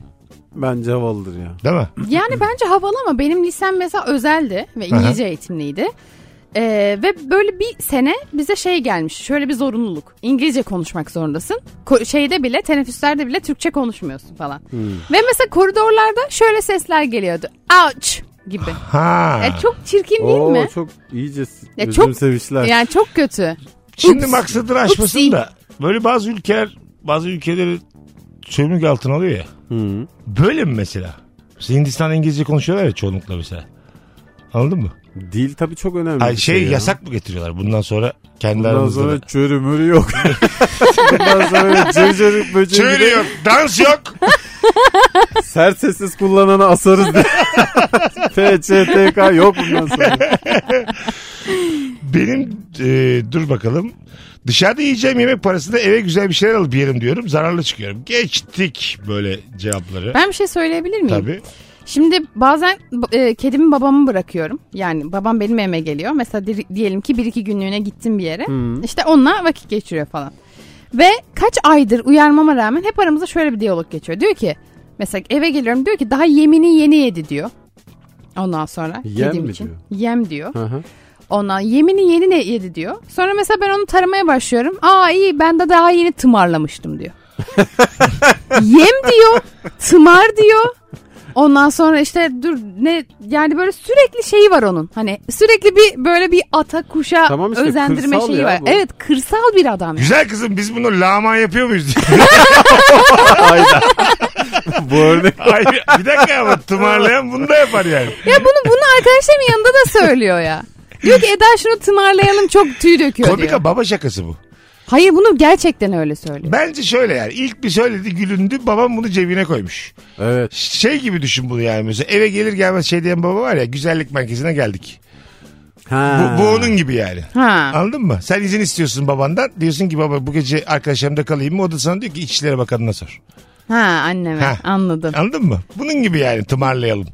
[SPEAKER 4] Bence havalıdır ya.
[SPEAKER 3] Değil mi?
[SPEAKER 5] Yani bence havalı ama benim lisem mesela özeldi ve İngilizce eğitimliydi. Ee, ve böyle bir sene bize şey gelmiş. Şöyle bir zorunluluk. İngilizce konuşmak zorundasın. Ko- şeyde bile teneffüslerde bile Türkçe konuşmuyorsun falan. Ve mesela koridorlarda şöyle sesler geliyordu. Ouch gibi.
[SPEAKER 3] Ha.
[SPEAKER 5] Ya çok çirkin değil
[SPEAKER 4] Ah. Oo,
[SPEAKER 5] mi?
[SPEAKER 4] çok iyice
[SPEAKER 5] Ya
[SPEAKER 4] özüm
[SPEAKER 5] çok-
[SPEAKER 4] sevişler.
[SPEAKER 5] Yani çok kötü.
[SPEAKER 3] Şimdi
[SPEAKER 5] Ups.
[SPEAKER 3] maksadını aşmasın
[SPEAKER 5] Upsi.
[SPEAKER 3] da böyle bazı ülkeler bazı ülkeleri sömürge altına alıyor ya.
[SPEAKER 4] Hı.
[SPEAKER 3] Böyle mi mesela? Mesela Hindistan İngilizce konuşuyorlar ya çoğunlukla mesela. Anladın mı?
[SPEAKER 4] Dil tabii çok önemli.
[SPEAKER 3] Ay
[SPEAKER 4] bir
[SPEAKER 3] şey
[SPEAKER 4] ya.
[SPEAKER 3] yasak mı getiriyorlar bundan sonra kendi
[SPEAKER 4] Bundan
[SPEAKER 3] aramızda?
[SPEAKER 4] sonra
[SPEAKER 3] da?
[SPEAKER 4] çörü mörü yok. Bundan sonra cırcır böceği
[SPEAKER 3] Çığır
[SPEAKER 4] bile
[SPEAKER 3] yok, dans yok.
[SPEAKER 4] sert sessiz kullanana asarız diye. PÇTK yok bundan sonra.
[SPEAKER 3] Benim e, dur bakalım. Dışarıda yiyeceğim yemek parasında eve güzel bir şeyler alıp yerim diyorum. Zararlı çıkıyorum. Geçtik böyle cevapları.
[SPEAKER 5] Ben bir şey söyleyebilir miyim?
[SPEAKER 3] Tabii.
[SPEAKER 5] Şimdi bazen e, kedimi babamı bırakıyorum. Yani babam benim evime geliyor. Mesela di- diyelim ki bir iki günlüğüne gittim bir yere. İşte onunla vakit geçiriyor falan. Ve kaç aydır uyarmama rağmen hep aramızda şöyle bir diyalog geçiyor. Diyor ki mesela eve geliyorum diyor ki daha yemini yeni yedi diyor. Ondan sonra
[SPEAKER 4] Yem
[SPEAKER 5] kedim
[SPEAKER 4] mi
[SPEAKER 5] için.
[SPEAKER 4] diyor?
[SPEAKER 5] Yem diyor.
[SPEAKER 4] Hı hı.
[SPEAKER 5] Ondan yemini yeni ne yedi diyor. Sonra mesela ben onu taramaya başlıyorum. Aa iyi ben de daha yeni tımarlamıştım diyor. Yem diyor. Tımar diyor. Ondan sonra işte dur ne yani böyle sürekli şeyi var onun. Hani sürekli bir böyle bir ata kuşa
[SPEAKER 4] Tamam işte,
[SPEAKER 5] özendirme
[SPEAKER 4] kırsal
[SPEAKER 5] şeyi
[SPEAKER 4] ya
[SPEAKER 5] var.
[SPEAKER 4] bu.
[SPEAKER 5] Evet kırsal bir adam.
[SPEAKER 3] Güzel kızım biz bunu lağman yapıyor muyuz? diye.
[SPEAKER 4] Bu örnek
[SPEAKER 3] Ay, bir dakika ama tımarlayan bunu da yapar yani.
[SPEAKER 5] Ya bunu bunu arkadaşlarımın yanında da söylüyor ya. Diyor ki Eda şunu tımarlayalım çok tüy döküyor diyor.
[SPEAKER 3] Komika baba şakası bu.
[SPEAKER 5] Hayır bunu gerçekten öyle söylüyor.
[SPEAKER 3] Bence şöyle yani ilk bir söyledi gülündü babam bunu cebine koymuş.
[SPEAKER 4] Evet.
[SPEAKER 3] Şey gibi düşün bunu yani mesela eve gelir gelmez şey diyen baba var ya güzellik merkezine geldik.
[SPEAKER 4] Ha.
[SPEAKER 3] Bu, bu onun gibi yani.
[SPEAKER 5] Ha.
[SPEAKER 3] Anladın mı? Sen izin istiyorsun babandan. Diyorsun ki baba bu gece arkadaşlarımda kalayım mı? O da sana diyor ki İçişleri Bakanı'na sor.
[SPEAKER 5] Ha anneme
[SPEAKER 3] Ha.
[SPEAKER 5] anladım.
[SPEAKER 3] Anladın mı? Bunun gibi yani tımarlayalım.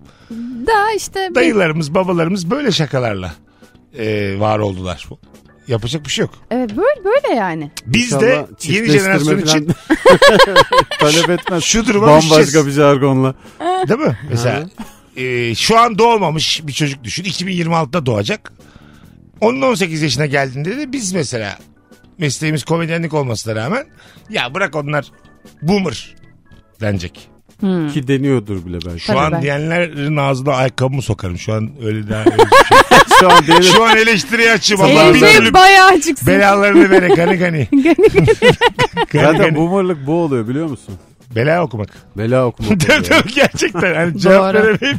[SPEAKER 5] Da işte bir-
[SPEAKER 3] Dayılarımız babalarımız böyle şakalarla e, var oldular. Yapacak bir şey yok.
[SPEAKER 5] Evet böyle böyle yani.
[SPEAKER 3] Biz
[SPEAKER 4] İnşallah
[SPEAKER 3] de yeni
[SPEAKER 4] çiftleştirme
[SPEAKER 3] jenerasyon
[SPEAKER 4] falan
[SPEAKER 3] için
[SPEAKER 4] talep etmez.
[SPEAKER 3] şu duruma düşeceğiz.
[SPEAKER 4] Bambaşka bir jargonla.
[SPEAKER 3] Değil mi? Mesela e, şu an doğmamış bir çocuk düşün. 2026'da doğacak. Onun 18 yaşına geldiğinde de biz mesela mesleğimiz komedyenlik olmasına rağmen ya bırak onlar boomer denecek.
[SPEAKER 4] Ki deniyordur bile belki.
[SPEAKER 3] Şu
[SPEAKER 5] Tabii
[SPEAKER 3] an
[SPEAKER 5] ben-
[SPEAKER 3] diyenlerin ağzına ayakkabımı sokarım. Şu an öyle daha
[SPEAKER 4] Şu an devlet
[SPEAKER 3] Şu an eleştiri açım ama bir türlü
[SPEAKER 5] Elbise bayağı çıksın.
[SPEAKER 3] belalarını vere gani gani. Gani
[SPEAKER 4] Zaten
[SPEAKER 3] gani.
[SPEAKER 4] boomerlık bu oluyor biliyor musun?
[SPEAKER 3] Bela okumak.
[SPEAKER 4] Bela okumak.
[SPEAKER 3] Tabii
[SPEAKER 4] oluyor.
[SPEAKER 3] tabii gerçekten. Hani cevap
[SPEAKER 5] Doğru.
[SPEAKER 3] veremeyip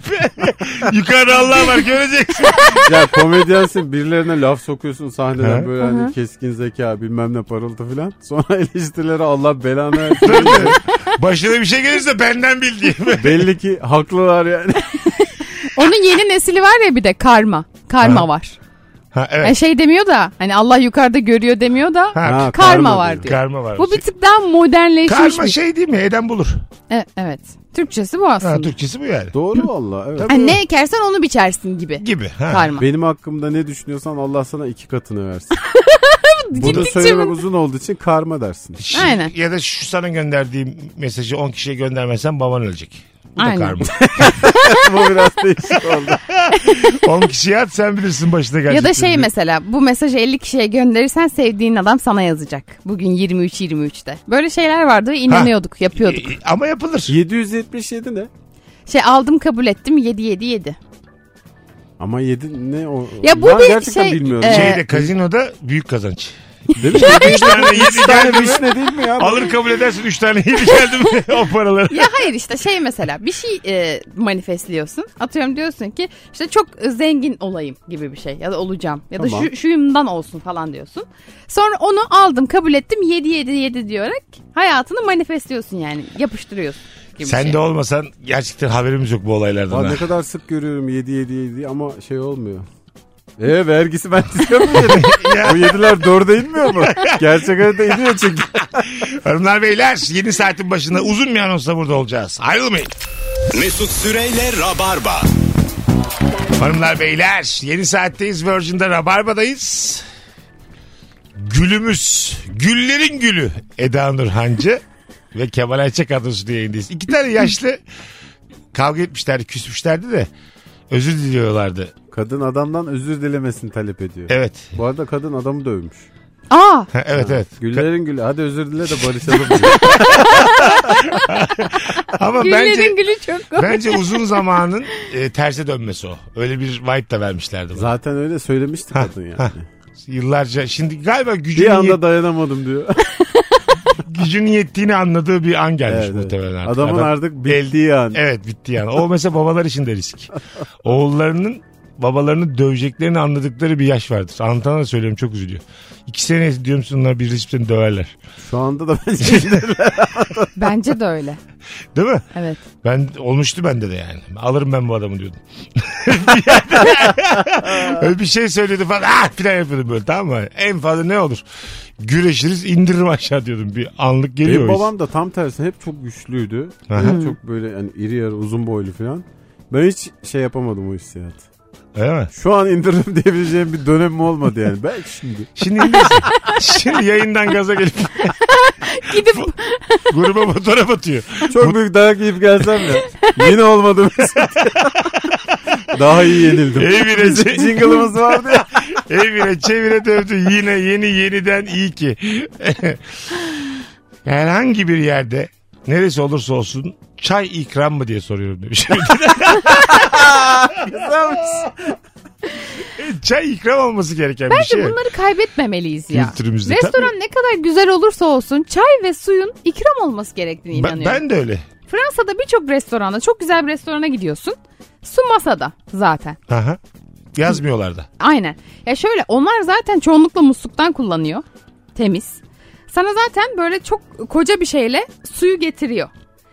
[SPEAKER 3] yukarıda Allah var göreceksin.
[SPEAKER 4] ya komedyensin birilerine laf sokuyorsun sahneden
[SPEAKER 3] Hı.
[SPEAKER 4] böyle hani keskin zeka bilmem ne parıltı filan. Sonra eleştirilere Allah belanı
[SPEAKER 3] Tabii,
[SPEAKER 4] versin.
[SPEAKER 3] tabii. Başına bir şey gelirse benden bil diye.
[SPEAKER 4] Belli ki haklılar yani.
[SPEAKER 5] Onun yeni nesili var ya bir de karma. Karma
[SPEAKER 3] Ha.
[SPEAKER 5] var.
[SPEAKER 3] Ha
[SPEAKER 5] Yani
[SPEAKER 3] evet.
[SPEAKER 5] şey demiyor da hani Allah yukarıda görüyor demiyor da
[SPEAKER 3] Ha,
[SPEAKER 5] karma,
[SPEAKER 4] Ha, karma
[SPEAKER 5] var
[SPEAKER 4] diyor.
[SPEAKER 5] diyor.
[SPEAKER 3] Karma var.
[SPEAKER 5] Bu bir tık daha modernleşmiş
[SPEAKER 3] Karma
[SPEAKER 5] bir şey.
[SPEAKER 3] şey değil mi? Eden bulur.
[SPEAKER 5] evet. Türkçesi bu
[SPEAKER 3] Ha,
[SPEAKER 5] aslında.
[SPEAKER 3] Türkçesi bu yani.
[SPEAKER 4] Doğru valla evet.
[SPEAKER 5] Hani ne ekersen onu biçersin gibi.
[SPEAKER 3] Gibi. Ha.
[SPEAKER 5] Karma.
[SPEAKER 4] Benim hakkımda ne düşünüyorsan Allah sana iki katını versin. Bunu
[SPEAKER 5] Gittikçe
[SPEAKER 4] söylemek
[SPEAKER 5] bu-
[SPEAKER 4] uzun olduğu için karma dersin.
[SPEAKER 3] Ş-
[SPEAKER 5] Aynen.
[SPEAKER 3] Ya da şu sana gönderdiğim mesajı 10 kişiye göndermezsen baban ölecek. Bu da
[SPEAKER 5] Aynen.
[SPEAKER 3] karma.
[SPEAKER 4] Bu biraz değişik oldu.
[SPEAKER 3] 10 kişiye at sen bilirsin başına gelecek.
[SPEAKER 5] Ya da şey
[SPEAKER 3] diye.
[SPEAKER 5] mesela bu mesajı 50 kişiye gönderirsen sevdiğin adam sana yazacak. Bugün 23-23'te. Böyle şeyler vardı ve inanıyorduk yapıyorduk.
[SPEAKER 3] E, Ama yapılır.
[SPEAKER 4] 777 ne?
[SPEAKER 5] Şey aldım kabul ettim 7-7-7.
[SPEAKER 4] Ama 7 ne o?
[SPEAKER 5] Ya bu
[SPEAKER 4] ben
[SPEAKER 5] bir
[SPEAKER 4] gerçekten
[SPEAKER 5] şey,
[SPEAKER 4] bilmiyorum.
[SPEAKER 5] e,
[SPEAKER 3] Şeyde kazinoda büyük kazanç.
[SPEAKER 4] Değil mi? Yedi-
[SPEAKER 3] tane yedi geldi mi?
[SPEAKER 4] Üç ne değil mi ya?
[SPEAKER 3] Alır kabul edersin 3 tane yedi geldi mi o paraları.
[SPEAKER 5] Ya hayır işte şey mesela bir şey e, manifestliyorsun. Atıyorum diyorsun ki işte çok zengin olayım gibi bir şey ya da olacağım ya da
[SPEAKER 4] Tamam.
[SPEAKER 5] şu, şuyumdan olsun falan diyorsun. Sonra onu aldım kabul ettim 7 7 7 diyerek hayatını manifestliyorsun yani yapıştırıyorsun gibi
[SPEAKER 3] Sen
[SPEAKER 5] bir şey.
[SPEAKER 3] de olmasan gerçekten haberimiz yok bu
[SPEAKER 4] Aa,
[SPEAKER 3] olaylardan. ha.
[SPEAKER 4] ne kadar sık görüyorum 7 7 7 ama şey olmuyor. E vergisi ben çıkamıyorum. Bu yediler dörde inmiyor mu? Gerçek hayatta iniyor çünkü.
[SPEAKER 3] Hanımlar beyler yeni saatin başında uzun bir anonsla burada olacağız. Ayrılmayın.
[SPEAKER 2] Mesut Süreyle Rabarba.
[SPEAKER 3] Hanımlar beyler yeni saatteyiz Virgin'de Rabarba'dayız. Gülümüz, güllerin gülü Eda Nur Hancı ve Kemal Ayça kadrosu diye yayındayız. İki tane yaşlı kavga etmişlerdi, küsmüşlerdi de özür diliyorlardı.
[SPEAKER 4] Kadın adamdan özür dilemesini talep ediyor.
[SPEAKER 3] Evet.
[SPEAKER 4] Bu arada kadın adamı dövmüş.
[SPEAKER 5] Aa
[SPEAKER 3] Ha, evet evet.
[SPEAKER 4] Güllerin gülü. Hadi özür dile de barışalım. diyor.
[SPEAKER 3] Ama bence
[SPEAKER 5] güllerin gülü çok komik.
[SPEAKER 3] bence uzun zamanın e, terse dönmesi o. Öyle bir vibe da vermişlerdi. bana.
[SPEAKER 4] Zaten öyle söylemişti kadın yani.
[SPEAKER 3] Yıllarca şimdi galiba
[SPEAKER 4] Bir
[SPEAKER 3] gücünün,
[SPEAKER 4] anda
[SPEAKER 3] yet-
[SPEAKER 4] dayanamadım diyor.
[SPEAKER 3] gücünün yettiğini anladığı bir an gelmiş
[SPEAKER 4] Evet, evet.
[SPEAKER 3] muhtemelen. artık.
[SPEAKER 4] Adamın
[SPEAKER 3] Adam-
[SPEAKER 4] artık bildiği yani.
[SPEAKER 3] Evet bitti yani. O mesela babalar için de risk. Oğullarının babalarını döveceklerini anladıkları bir yaş vardır. Anlatana da söylüyorum çok üzülüyor. İki sene diyorum size onlar bir risk seni döverler.
[SPEAKER 4] Şu anda da bence
[SPEAKER 5] Bence de öyle.
[SPEAKER 3] Değil mi?
[SPEAKER 5] Evet.
[SPEAKER 3] Ben olmuştu bende de yani. Alırım ben bu adamı diyordum. bir yerde öyle bir şey söylüyordu falan. Ah filan yapıyordum böyle tamam mı? En fazla ne olur? Güreşiriz indiririm aşağı diyordum. Bir anlık geliyor.
[SPEAKER 4] Benim
[SPEAKER 3] o his.
[SPEAKER 4] babam da tam tersi hep çok güçlüydü.
[SPEAKER 3] Aha.
[SPEAKER 4] Çok böyle yani iri yarı uzun boylu falan. Ben hiç şey yapamadım o hissiyatı.
[SPEAKER 3] Öyle mi?
[SPEAKER 4] Şu an indiririm diyebileceğim bir dönemim olmadı yani. Belki şimdi.
[SPEAKER 3] Şimdi indirsin. Şimdi yayından gaza gelip
[SPEAKER 5] Gidip
[SPEAKER 3] gruba fotoğraf atıyor.
[SPEAKER 4] Çok büyük dayak yiyip gelsem de yine olmadı Mesut. Daha iyi yenildim.
[SPEAKER 3] İyi bir
[SPEAKER 4] Bizim
[SPEAKER 3] Ece.
[SPEAKER 4] jingle'ımız vardı ya.
[SPEAKER 3] Evire çevire dövdü yine yeni yeniden iyi ki. Herhangi bir yerde neresi olursa olsun çay ikram mı diye soruyorum demiş. çay ikram olması gereken bir şey.
[SPEAKER 5] Bence bunları kaybetmemeliyiz ya.
[SPEAKER 3] Kültürümüzde
[SPEAKER 5] Restoran ne kadar güzel olursa olsun çay ve suyun ikram olması gerektiğine
[SPEAKER 3] Ben,
[SPEAKER 5] inanıyorum.
[SPEAKER 3] ben de öyle.
[SPEAKER 5] Fransa'da birçok restoranda çok güzel bir restorana gidiyorsun. Su masada zaten.
[SPEAKER 3] Aha. Yazmıyorlar da.
[SPEAKER 5] Aynen. Ya şöyle onlar zaten çoğunlukla musluktan kullanıyor. Temiz. Sana zaten böyle çok koca bir şeyle suyu getiriyor.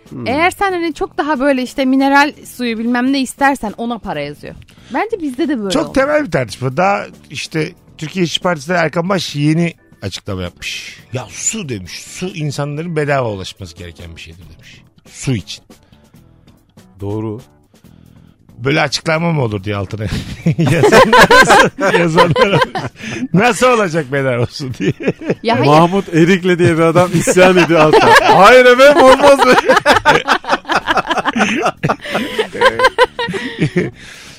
[SPEAKER 4] Hmm.
[SPEAKER 5] Eğer sen hani çok daha böyle işte mineral suyu bilmem ne istersen ona para yazıyor. Bence bizde de böyle
[SPEAKER 3] Çok
[SPEAKER 5] olmalı.
[SPEAKER 3] temel bir tartışma. Daha işte Türkiye İşçi Partisi'de Erkan Baş yeni açıklama yapmış. Ya su demiş. Su insanların bedava ulaşması gereken bir şeydir demiş. Su için.
[SPEAKER 4] Doğru.
[SPEAKER 3] böyle açıklama mı olur diye altına yazanlar, yazanlar nasıl olacak bedel olsun diye.
[SPEAKER 5] Ya hayır.
[SPEAKER 4] Mahmut Erikli diye bir adam isyan ediyor altta. Hayır efendim olmaz.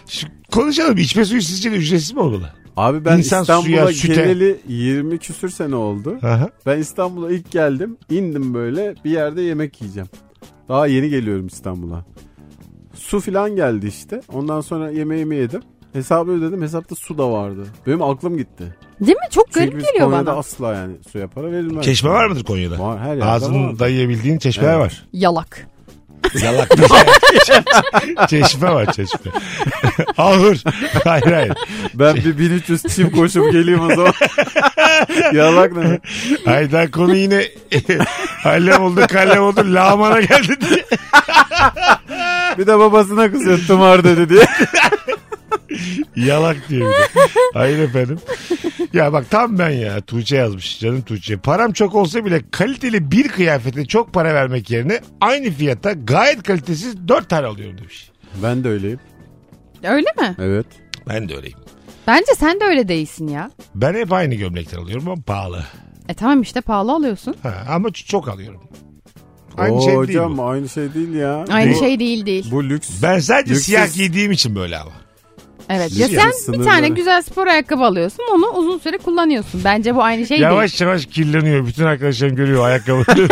[SPEAKER 3] Şu- konuşalım içme suyu sizce de ücretsiz mi olmalı?
[SPEAKER 4] Abi ben
[SPEAKER 3] İnsan
[SPEAKER 4] İstanbul'a
[SPEAKER 3] suya, süte.
[SPEAKER 4] geleli 20 küsür sene oldu.
[SPEAKER 3] Aha.
[SPEAKER 4] Ben İstanbul'a ilk geldim. indim böyle bir yerde yemek yiyeceğim. Daha yeni geliyorum İstanbul'a. Su filan geldi işte. Ondan sonra yemeğimi yedim. Hesabı ödedim. Hesapta su da vardı. Benim aklım gitti.
[SPEAKER 5] Değil mi? Çok garip
[SPEAKER 4] Çünkü biz
[SPEAKER 5] geliyor
[SPEAKER 4] Konya'da
[SPEAKER 5] bana.
[SPEAKER 4] asla yani suya para verilmez.
[SPEAKER 3] Çeşme var mıdır Konya'da?
[SPEAKER 4] Var her yerde
[SPEAKER 3] Ağzını
[SPEAKER 4] var.
[SPEAKER 3] dayayabildiğin çeşmeler
[SPEAKER 4] Evet.
[SPEAKER 3] var.
[SPEAKER 5] Yalak.
[SPEAKER 3] Yalak. çeşme var çeşme. Ahır. Hayır hayır.
[SPEAKER 4] Ben bir 1300 çim koşup geleyim o zaman. Yalak ne?
[SPEAKER 3] Hayır daha konu yine hallem oldu kallem oldu lağmana geldi diye.
[SPEAKER 4] Bir de babasına kızıyor tımar dedi diye.
[SPEAKER 3] Yalak diyor. bir de. Hayır efendim. Ya bak tam ben ya. Tuğçe yazmış canım Tuğçe. Param çok olsa bile kaliteli bir kıyafete çok para vermek yerine aynı fiyata gayet kalitesiz dört tane alıyorum demiş.
[SPEAKER 4] Ben de öyleyim.
[SPEAKER 5] Öyle mi?
[SPEAKER 4] Evet.
[SPEAKER 3] Ben de öyleyim.
[SPEAKER 5] Bence sen de öyle değilsin ya.
[SPEAKER 3] Ben hep aynı gömlekten alıyorum ama pahalı.
[SPEAKER 5] E tamam işte pahalı alıyorsun.
[SPEAKER 3] Ha, ama ç- çok alıyorum. Aynı
[SPEAKER 4] Aynı
[SPEAKER 3] şey değil
[SPEAKER 4] hocam
[SPEAKER 3] bu.
[SPEAKER 4] aynı şey değil ya.
[SPEAKER 5] Aynı
[SPEAKER 4] bu,
[SPEAKER 5] şey değil değil.
[SPEAKER 4] Bu lüks.
[SPEAKER 3] Ben sadece
[SPEAKER 4] Yüksek-
[SPEAKER 3] siyah giydiğim için böyle ama.
[SPEAKER 5] evet. Ya
[SPEAKER 4] Lüks
[SPEAKER 5] sen
[SPEAKER 4] sınırları.
[SPEAKER 5] bir tane güzel spor ayakkabı alıyorsun. Onu uzun süre kullanıyorsun. Bence bu aynı şey değil.
[SPEAKER 3] Yavaş yavaş kirleniyor. Bütün arkadaşlarım görüyor ayakkabı.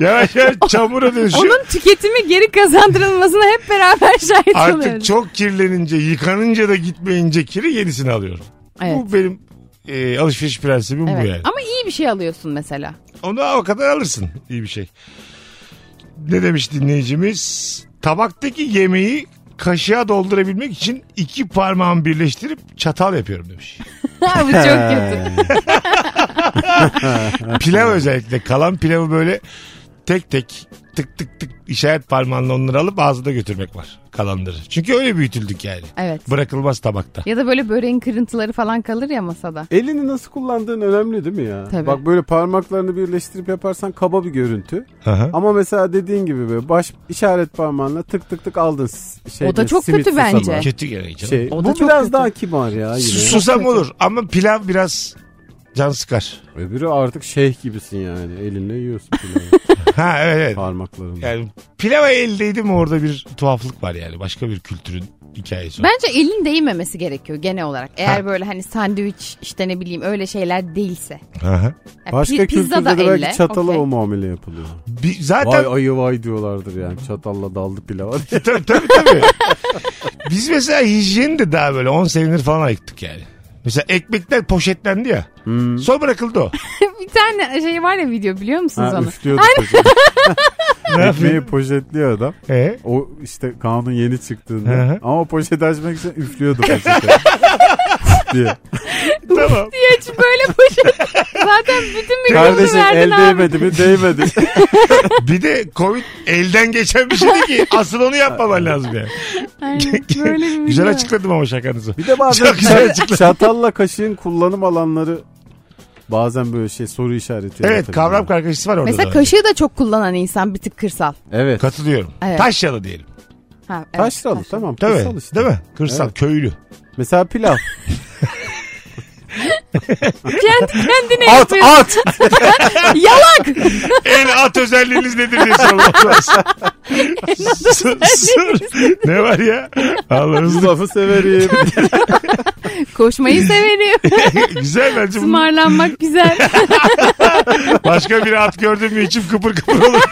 [SPEAKER 3] yavaş yavaş çamura dönüşüyor.
[SPEAKER 5] Onun tüketimi geri kazandırılmasına hep beraber şahit
[SPEAKER 3] Artık
[SPEAKER 5] oluyoruz.
[SPEAKER 3] çok kirlenince, yıkanınca da gitmeyince kiri yenisini alıyorum.
[SPEAKER 5] Evet.
[SPEAKER 3] Bu benim e, alışveriş prensibim bu
[SPEAKER 5] Evet.
[SPEAKER 3] yani.
[SPEAKER 5] Ama iyi bir şey alıyorsun mesela.
[SPEAKER 3] Onu o kadar alırsın. İyi bir şey. Ne demiş dinleyicimiz? Tabaktaki yemeği kaşığa doldurabilmek için iki parmağımı birleştirip çatal yapıyorum demiş.
[SPEAKER 5] bu çok kötü.
[SPEAKER 3] Pilav özellikle kalan pilavı böyle tek tek tık tık tık işaret parmağınla onları alıp ağzına götürmek var kalanları. Çünkü öyle büyütüldük yani.
[SPEAKER 5] Evet.
[SPEAKER 3] Bırakılmaz tabakta.
[SPEAKER 5] Ya da böyle böreğin kırıntıları falan kalır ya masada.
[SPEAKER 4] Elini nasıl kullandığın önemli değil mi ya?
[SPEAKER 5] Tabii.
[SPEAKER 4] Bak böyle parmaklarını birleştirip yaparsan kaba bir görüntü.
[SPEAKER 3] Aha.
[SPEAKER 4] Ama mesela dediğin gibi böyle baş işaret parmağınla tık tık tık aldın s- şeyde,
[SPEAKER 5] O da çok
[SPEAKER 4] simit
[SPEAKER 5] kötü
[SPEAKER 4] susamı.
[SPEAKER 5] bence.
[SPEAKER 3] Kötü gene canım.
[SPEAKER 4] Şey,
[SPEAKER 5] O da
[SPEAKER 4] bu
[SPEAKER 5] çok
[SPEAKER 4] biraz
[SPEAKER 5] kötü.
[SPEAKER 4] daha kibar ya yine.
[SPEAKER 3] Susam olur ama pilav biraz Can sıkar.
[SPEAKER 4] Öbürü artık şeyh gibisin yani. Elinle yiyorsun pilavı
[SPEAKER 3] Ha evet evet.
[SPEAKER 4] parmaklarınla.
[SPEAKER 3] Yani pilava eldeydi mi orada bir tuhaflık var yani. Başka bir kültürün hikayesi. o.
[SPEAKER 5] Bence elin değmemesi gerekiyor genel olarak. Eğer
[SPEAKER 3] Ha.
[SPEAKER 5] böyle hani sandviç işte ne bileyim öyle şeyler değilse.
[SPEAKER 3] Aha.
[SPEAKER 5] Yani
[SPEAKER 4] Başka
[SPEAKER 5] pi- pizza
[SPEAKER 4] kültürde de
[SPEAKER 5] da elle,
[SPEAKER 4] belki çatala
[SPEAKER 5] okey.
[SPEAKER 4] o muamele yapılıyor.
[SPEAKER 3] Bir, zaten
[SPEAKER 4] Vay ayı vay diyorlardır yani. Çatalla daldı pilava diye.
[SPEAKER 3] tabii tabii. tabii. Biz mesela hijyeni de daha böyle 10 senedir falan ayıktık yani. Mesela ekmekler poşetlendi ya.
[SPEAKER 4] Hmm.
[SPEAKER 3] Son bırakıldı o.
[SPEAKER 5] bir tane şey var ya video biliyor musunuz
[SPEAKER 4] Ha,
[SPEAKER 5] onu?
[SPEAKER 4] üflüyordu poşet.
[SPEAKER 3] Ne
[SPEAKER 4] Ekmeği
[SPEAKER 3] yapayım?
[SPEAKER 4] poşetliyor adam.
[SPEAKER 3] Ee?
[SPEAKER 4] O işte kanun yeni çıktığında.
[SPEAKER 3] Hı hı.
[SPEAKER 4] Ama poşeti açmak için üflüyordu poşeti. diye.
[SPEAKER 3] Tamam.
[SPEAKER 5] diye hiç böyle poşet. Zaten bütün bir
[SPEAKER 4] Kardeşim el
[SPEAKER 5] verdin abi.
[SPEAKER 4] değmedi mi değmedi.
[SPEAKER 3] Bir de Covid elden geçen bir şeydi ki asıl onu yapmaman lazım yani.
[SPEAKER 5] Aynen, böyle bir şey video.
[SPEAKER 3] Güzel açıkladım ama şakanızı.
[SPEAKER 4] Bir de bazen
[SPEAKER 3] Çok güzel
[SPEAKER 4] çat-
[SPEAKER 3] açıkladın.
[SPEAKER 4] çatalla kaşığın kullanım alanları bazen böyle şey soru işareti.
[SPEAKER 3] Evet
[SPEAKER 4] yaratabiliyor.
[SPEAKER 3] kavram kargaşası var orada.
[SPEAKER 5] Mesela
[SPEAKER 3] da.
[SPEAKER 5] kaşığı da çok kullanan insan bir tık kırsal.
[SPEAKER 4] Evet.
[SPEAKER 3] Katılıyorum.
[SPEAKER 5] Evet.
[SPEAKER 3] Taşyalı diyelim.
[SPEAKER 5] Ha, evet,
[SPEAKER 4] Taşralı tamam.
[SPEAKER 3] Tabii.
[SPEAKER 4] kırsal işte.
[SPEAKER 3] Değil mi? Kırsal,
[SPEAKER 4] Evet.
[SPEAKER 3] köylü.
[SPEAKER 4] Mesela pilav.
[SPEAKER 5] Kendi kendine
[SPEAKER 4] at
[SPEAKER 5] yapıyor.
[SPEAKER 4] at.
[SPEAKER 5] Yalak.
[SPEAKER 3] El at özelliğiniz nedir diye sormak lazım. Sır- sır- ne var ya? Allah'ınızı
[SPEAKER 4] Pilavı severim.
[SPEAKER 5] Koşmayı severim.
[SPEAKER 3] Güzel bence. bu.
[SPEAKER 5] Ismarlanmak güzel.
[SPEAKER 3] Başka bir at gördüm mü içim kıpır kıpır olur.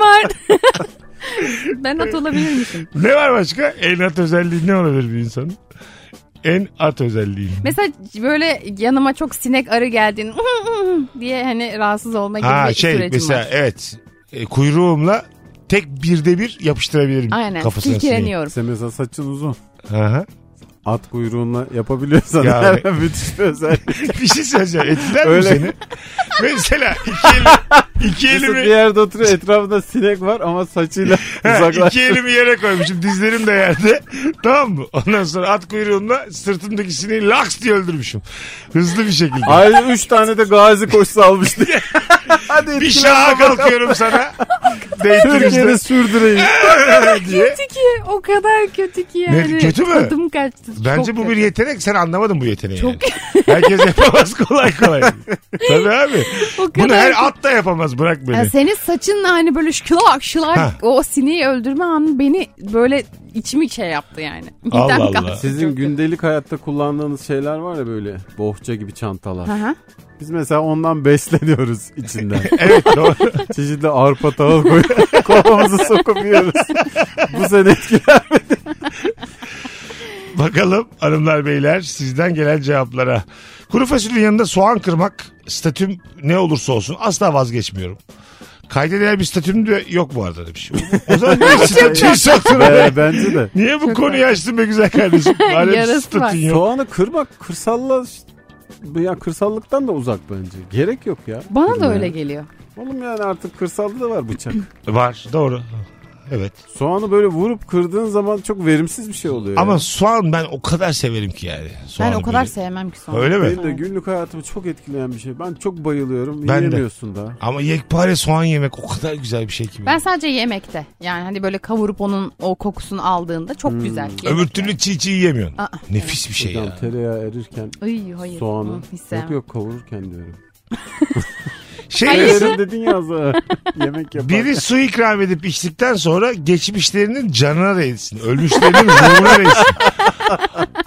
[SPEAKER 5] var. ben at olabilirmişim.
[SPEAKER 3] ne var başka? En at özelliği ne olabilir bir insanın? En at özelliği.
[SPEAKER 5] Mesela böyle yanıma çok sinek arı geldiğin diye hani rahatsız olma gibi
[SPEAKER 3] Ha
[SPEAKER 5] bir
[SPEAKER 3] şey
[SPEAKER 5] sürecim
[SPEAKER 3] mesela
[SPEAKER 5] var.
[SPEAKER 3] evet. E, kuyruğumla tek birde bir yapıştırabilirim
[SPEAKER 5] Aynen.
[SPEAKER 3] kafasına.
[SPEAKER 5] Silkeleniyorum.
[SPEAKER 4] Sen mesela saçın uzun.
[SPEAKER 3] sineği. Aha.
[SPEAKER 4] At kuyruğunla yapabiliyorsan
[SPEAKER 3] Ya
[SPEAKER 4] her an müthiş bir özellik.
[SPEAKER 3] Bir şey söyleyeceğim. Etkiler mi
[SPEAKER 4] Öyle.
[SPEAKER 3] seni? Mesela iki, eli, iki
[SPEAKER 4] Mesela
[SPEAKER 3] elimi
[SPEAKER 4] bir yerde oturuyor etrafında sinek var ama saçıyla
[SPEAKER 3] Ha,
[SPEAKER 4] uzaklaş.
[SPEAKER 3] İki elimi yere koymuşum. Dizlerim de yerde. Tamam mı? Ondan sonra at kuyruğumla sırtımdaki sineği laks diye öldürmüşüm. Hızlı bir şekilde.
[SPEAKER 4] Ayrıca üç tane de gazi koşusu almış diye. Hadi
[SPEAKER 5] şey
[SPEAKER 3] bir şaha kalkıyorum sana. Değdirmiştim.
[SPEAKER 4] Türkiye'de sürdüreyim.
[SPEAKER 3] diye.
[SPEAKER 5] Kötü ki o kadar kötü ki yani.
[SPEAKER 3] kötü mü?
[SPEAKER 5] Tadım kaçtı.
[SPEAKER 3] Bence
[SPEAKER 5] Çok
[SPEAKER 3] bu
[SPEAKER 5] kötü.
[SPEAKER 3] bir yetenek. Sen anlamadın bu yeteneği. Çok... Herkes yapamaz kolay kolay. Tabii abi.
[SPEAKER 5] O
[SPEAKER 3] Bunu
[SPEAKER 5] kadar
[SPEAKER 3] her at da yapamaz. Bırak beni.
[SPEAKER 5] Yani senin saçınla hani böyle şılak şılak
[SPEAKER 3] Ha.
[SPEAKER 5] o sineği öldürme anı beni böyle içimi şey yaptı yani.
[SPEAKER 3] Allah
[SPEAKER 5] Midem
[SPEAKER 3] Allah.
[SPEAKER 5] kalktı.
[SPEAKER 4] Sizin
[SPEAKER 5] Çok
[SPEAKER 4] gündelik hayatta kullandığınız şeyler var ya böyle bohça gibi çantalar.
[SPEAKER 5] kötü. Aha.
[SPEAKER 4] Biz mesela ondan besleniyoruz içinden.
[SPEAKER 3] Evet doğru.
[SPEAKER 4] Çeşitli arpa tahıl koyup kovamızı sokup yiyoruz. Bu sene etkiler.
[SPEAKER 3] Bakalım hanımlar beyler sizden gelen cevaplara. Kuru fasulyenin yanında soğan kırmak statüm ne olursa olsun asla vazgeçmiyorum. Kayda değer bir statüm de yok bu arada demiş. O zaman niye statüyü sattın?
[SPEAKER 4] Be, Ee, bence de.
[SPEAKER 3] Niye bu konuyu açtın be güzel kardeşim? Madem
[SPEAKER 5] Yarası
[SPEAKER 3] statün
[SPEAKER 5] var.
[SPEAKER 3] yok.
[SPEAKER 4] Soğanı kırmak kırsalla ya kırsallıktan da uzak bence. Gerek yok ya.
[SPEAKER 5] Bana da
[SPEAKER 4] Kırmaya.
[SPEAKER 5] öyle geliyor.
[SPEAKER 4] Oğlum yani artık kırsalda da var bıçak.
[SPEAKER 3] Var doğru. Evet.
[SPEAKER 4] Soğanı böyle vurup kırdığın zaman çok verimsiz bir şey oluyor. ya.
[SPEAKER 3] Ama soğan ben o kadar severim ki yani. Soğanı
[SPEAKER 5] ben o kadar
[SPEAKER 3] böyle.
[SPEAKER 5] sevmem ki soğan.
[SPEAKER 3] Öyle mi?
[SPEAKER 4] benim de günlük hayatımı çok etkileyen bir şey. Ben çok bayılıyorum.
[SPEAKER 3] Ben de.
[SPEAKER 4] Yiyemiyorsun daha.
[SPEAKER 3] Ama yekpare soğan yemek o kadar güzel bir şey ki.
[SPEAKER 5] Ben sadece yemekte yani hani böyle kavurup onun o kokusunu aldığında çok
[SPEAKER 4] Hmm.
[SPEAKER 5] güzel. Yemekte.
[SPEAKER 3] Öbür türlü çiğ çiğ yemiyorsun.
[SPEAKER 5] Aa.
[SPEAKER 3] Nefis bir şey
[SPEAKER 4] Buradan
[SPEAKER 3] ya.
[SPEAKER 4] tereyağı erirken
[SPEAKER 5] Ay, hayır.
[SPEAKER 4] soğanı.
[SPEAKER 5] Hı, hiç sevmem.
[SPEAKER 4] Yok yok kavururken diyorum.
[SPEAKER 3] Şey
[SPEAKER 5] Hayır.
[SPEAKER 4] Erim dedin ya az daha. Yemek yapar.
[SPEAKER 3] Biri su ikram edip içtikten sonra geçmişlerinin canına değsin. Ölmüşlerinin ruhuna değsin.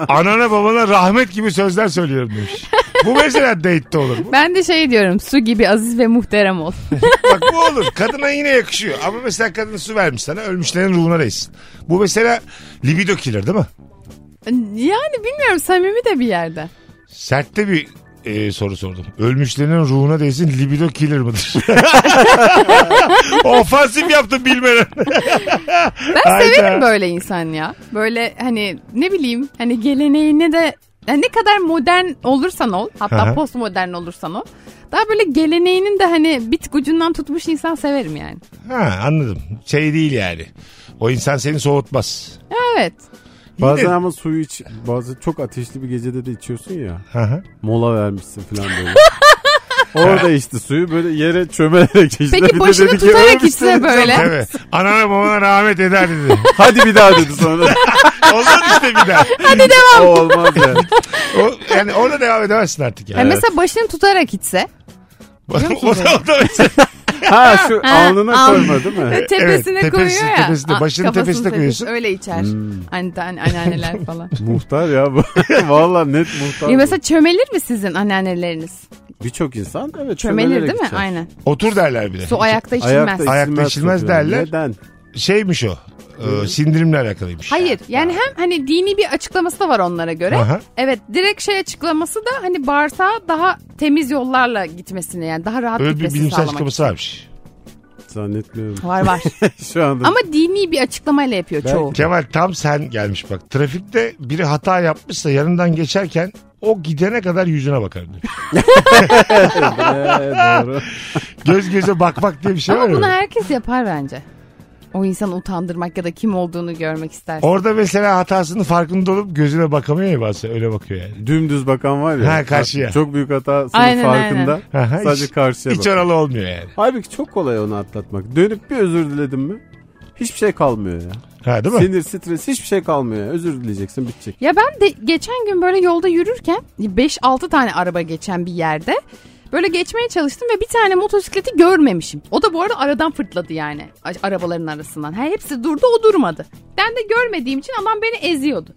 [SPEAKER 3] Anana babana rahmet gibi sözler söylüyorum demiş. Bu mesela date'te olur. Bu-
[SPEAKER 5] Ben de şey diyorum su gibi aziz ve muhterem ol.
[SPEAKER 3] Bak bu olur. Kadına yine yakışıyor. Ama mesela kadın su vermiş sana ölmüşlerin ruhuna değsin. Bu mesela libido killer değil mi?
[SPEAKER 5] yani bilmiyorum samimi de bir yerde.
[SPEAKER 3] Sertte bir e, soru sordum. Ölmüşlerin ruhuna değsin libido killer mıdır? Ofansif yaptım bilmeden.
[SPEAKER 5] Ben
[SPEAKER 3] Hayda.
[SPEAKER 5] severim böyle insan ya. Böyle hani ne bileyim hani geleneğine de yani ne kadar modern olursan ol
[SPEAKER 3] Aha.
[SPEAKER 5] hatta postmodern olursan ol. Daha böyle geleneğinin de hani bit ucundan tutmuş insan severim yani.
[SPEAKER 3] Ha anladım. Şey değil yani. O insan seni soğutmaz.
[SPEAKER 5] Evet.
[SPEAKER 4] Bazen
[SPEAKER 3] Yine-
[SPEAKER 4] ama suyu iç. Bazen çok ateşli bir gecede de içiyorsun ya.
[SPEAKER 3] Hı hı.
[SPEAKER 4] Mola vermişsin falan böyle. Orada içti suyu böyle yere çömelerek içti.
[SPEAKER 5] Peki
[SPEAKER 4] Bir de
[SPEAKER 5] başını
[SPEAKER 4] dedi ki,
[SPEAKER 5] tutarak
[SPEAKER 4] "Ölmüşsün."
[SPEAKER 5] içse böyle.
[SPEAKER 3] Tabii. Anana babana rahmet eder dedi.
[SPEAKER 4] Hadi bir daha dedi sonra.
[SPEAKER 3] Olmaz işte bir daha.
[SPEAKER 5] Hadi devam.
[SPEAKER 4] o olmaz yani.
[SPEAKER 3] O, yani orada devam edemezsin artık
[SPEAKER 5] Ya
[SPEAKER 3] yani.
[SPEAKER 5] Mesela başını tutarak içse.
[SPEAKER 3] o, da, o da mesela
[SPEAKER 4] Ha şu
[SPEAKER 5] Ha,
[SPEAKER 4] alnına
[SPEAKER 5] al.
[SPEAKER 4] koyma değil mi?
[SPEAKER 5] Ve tepesine
[SPEAKER 3] tepesi-
[SPEAKER 5] koyuyor ya.
[SPEAKER 3] tepesine,
[SPEAKER 5] Aa,
[SPEAKER 3] başının
[SPEAKER 5] kafasının
[SPEAKER 3] tepesine koyuyorsun.
[SPEAKER 5] Öyle içer. Hani tane- anneanneler falan.
[SPEAKER 4] muhtar ya bu. Valla net muhtar.
[SPEAKER 5] Ya
[SPEAKER 4] bu.
[SPEAKER 5] mesela çömelir mi sizin anneanneleriniz?
[SPEAKER 4] Birçok insan evet
[SPEAKER 5] Çömelir değil mi?
[SPEAKER 4] içer.
[SPEAKER 5] Aynen.
[SPEAKER 3] otur derler bir de.
[SPEAKER 5] Su ayakta içilmez.
[SPEAKER 4] Ayakta,
[SPEAKER 3] Ayakta içilmez
[SPEAKER 4] tabii.
[SPEAKER 3] derler.
[SPEAKER 4] Neden?
[SPEAKER 3] Şeymiş o. e, sindirimle alakalıymış.
[SPEAKER 5] Hayır yani hem hani dini bir açıklaması da var onlara göre.
[SPEAKER 3] Aha.
[SPEAKER 5] Evet direkt şey açıklaması da hani bağırsağa daha temiz yollarla gitmesini yani daha rahat
[SPEAKER 3] Öyle bir
[SPEAKER 5] gitmesini
[SPEAKER 3] bilimsel
[SPEAKER 5] sağlamak.
[SPEAKER 3] açıklaması varmış.
[SPEAKER 4] Zannetmiyorum.
[SPEAKER 5] Var var.
[SPEAKER 4] şu anda.
[SPEAKER 5] Ama dini bir açıklamayla yapıyor çoğu.
[SPEAKER 3] Kemal tam sen gelmiş bak. Trafikte biri hata yapmışsa yanından geçerken o gidene kadar yüzüne bakar. diyor.
[SPEAKER 4] Ee, doğru.
[SPEAKER 3] Göz göze bakmak diye bir şey var
[SPEAKER 5] Ama bunu
[SPEAKER 3] mı?
[SPEAKER 5] herkes yapar bence. O insanı utandırmak ya da kim olduğunu görmek istersin.
[SPEAKER 3] Orada mesela hatasının farkında olup gözüne bakamıyor ya bazen öyle bakıyor yani.
[SPEAKER 4] Dümdüz bakan var ya.
[SPEAKER 3] Ha, karşıya.
[SPEAKER 4] Çok büyük hata
[SPEAKER 5] Aynen,
[SPEAKER 4] senin farkında.
[SPEAKER 3] Aha, hiç-
[SPEAKER 4] Sadece karşıya
[SPEAKER 3] Hiç
[SPEAKER 4] bak.
[SPEAKER 3] oralı olmuyor yani.
[SPEAKER 4] Halbuki çok kolay onu atlatmak. Dönüp bir özür diledin mi? Hiçbir şey kalmıyor ya.
[SPEAKER 3] Ha değil mi?
[SPEAKER 4] Sinir, stres hiçbir şey kalmıyor ya. Özür dileyeceksin bitecek.
[SPEAKER 5] Ya ben de geçen gün böyle yolda yürürken 5-6 tane araba geçen bir yerde böyle geçmeye çalıştım ve bir tane motosikleti görmemişim. O da bu arada aradan fırtladı yani a- arabaların arasından. Her hepsi durdu o durmadı. Ben de görmediğim için adam beni eziyordu.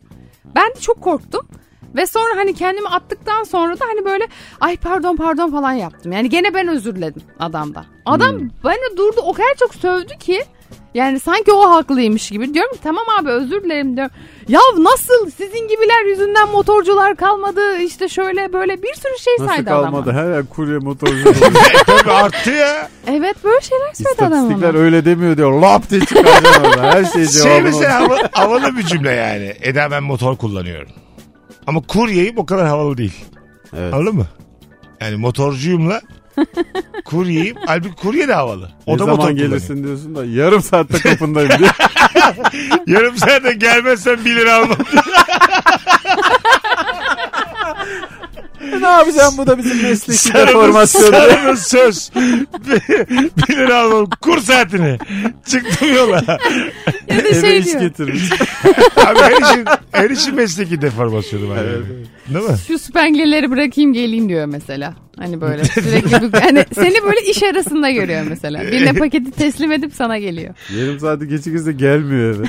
[SPEAKER 5] Ben de çok korktum. Ve sonra hani kendimi attıktan sonra da hani böyle ay pardon pardon falan yaptım. Yani gene ben özür diledim adamdan. Adam
[SPEAKER 4] Hmm.
[SPEAKER 5] beni durdu o kadar çok sövdü ki yani sanki o haklıymış gibi. Diyorum ki tamam abi özür dilerim diyorum. Ya nasıl sizin gibiler yüzünden motorcular kalmadı işte şöyle böyle bir sürü şey
[SPEAKER 4] Nasıl
[SPEAKER 5] saydı adam.
[SPEAKER 4] kalmadı?
[SPEAKER 5] bana.
[SPEAKER 4] Her yer kurye motorcu.
[SPEAKER 3] E, Tabii arttı ya.
[SPEAKER 5] Evet böyle şeyler söyledi adam bana.
[SPEAKER 4] İstatistikler öyle demiyor diyor. Lap diye çıkaracaksın orada. Her şey
[SPEAKER 3] Şey
[SPEAKER 4] cevabını
[SPEAKER 3] mesela hava- havalı bir cümle yani. Eda ben motor kullanıyorum. Ama kuryeyim o kadar havalı değil.
[SPEAKER 4] Evet.
[SPEAKER 3] Anladın mı? Yani motorcuyumla kuryeyim. Halbuki kurye de havalı. O
[SPEAKER 4] O
[SPEAKER 3] da
[SPEAKER 4] ne
[SPEAKER 3] motor
[SPEAKER 4] zaman
[SPEAKER 3] gelirsin.
[SPEAKER 4] gelirsin diyorsun da yarım saatte kapındayım diye.
[SPEAKER 3] Yarım saate gelmezsen 1 lira almam.
[SPEAKER 4] ne yapacağım bu da bizim mesleki
[SPEAKER 3] Sarımız,
[SPEAKER 4] deformasyonu.
[SPEAKER 3] sarımız söz. 1 lira almam. Kur saatini. Çıktım yola.
[SPEAKER 5] Ya da
[SPEAKER 4] Eve
[SPEAKER 5] şey
[SPEAKER 4] iş
[SPEAKER 5] diyor.
[SPEAKER 4] getirmiş.
[SPEAKER 3] Abi her işin, her işin mesleki deformasyonu var. yani. Değil mi?
[SPEAKER 5] Şu spengeleri bırakayım geleyim diyor mesela. Hani böyle sürekli bir, hani seni böyle iş arasında görüyor mesela. Birine paketi teslim edip sana geliyor.
[SPEAKER 4] Yarım saati geçikirse gelmiyor eve.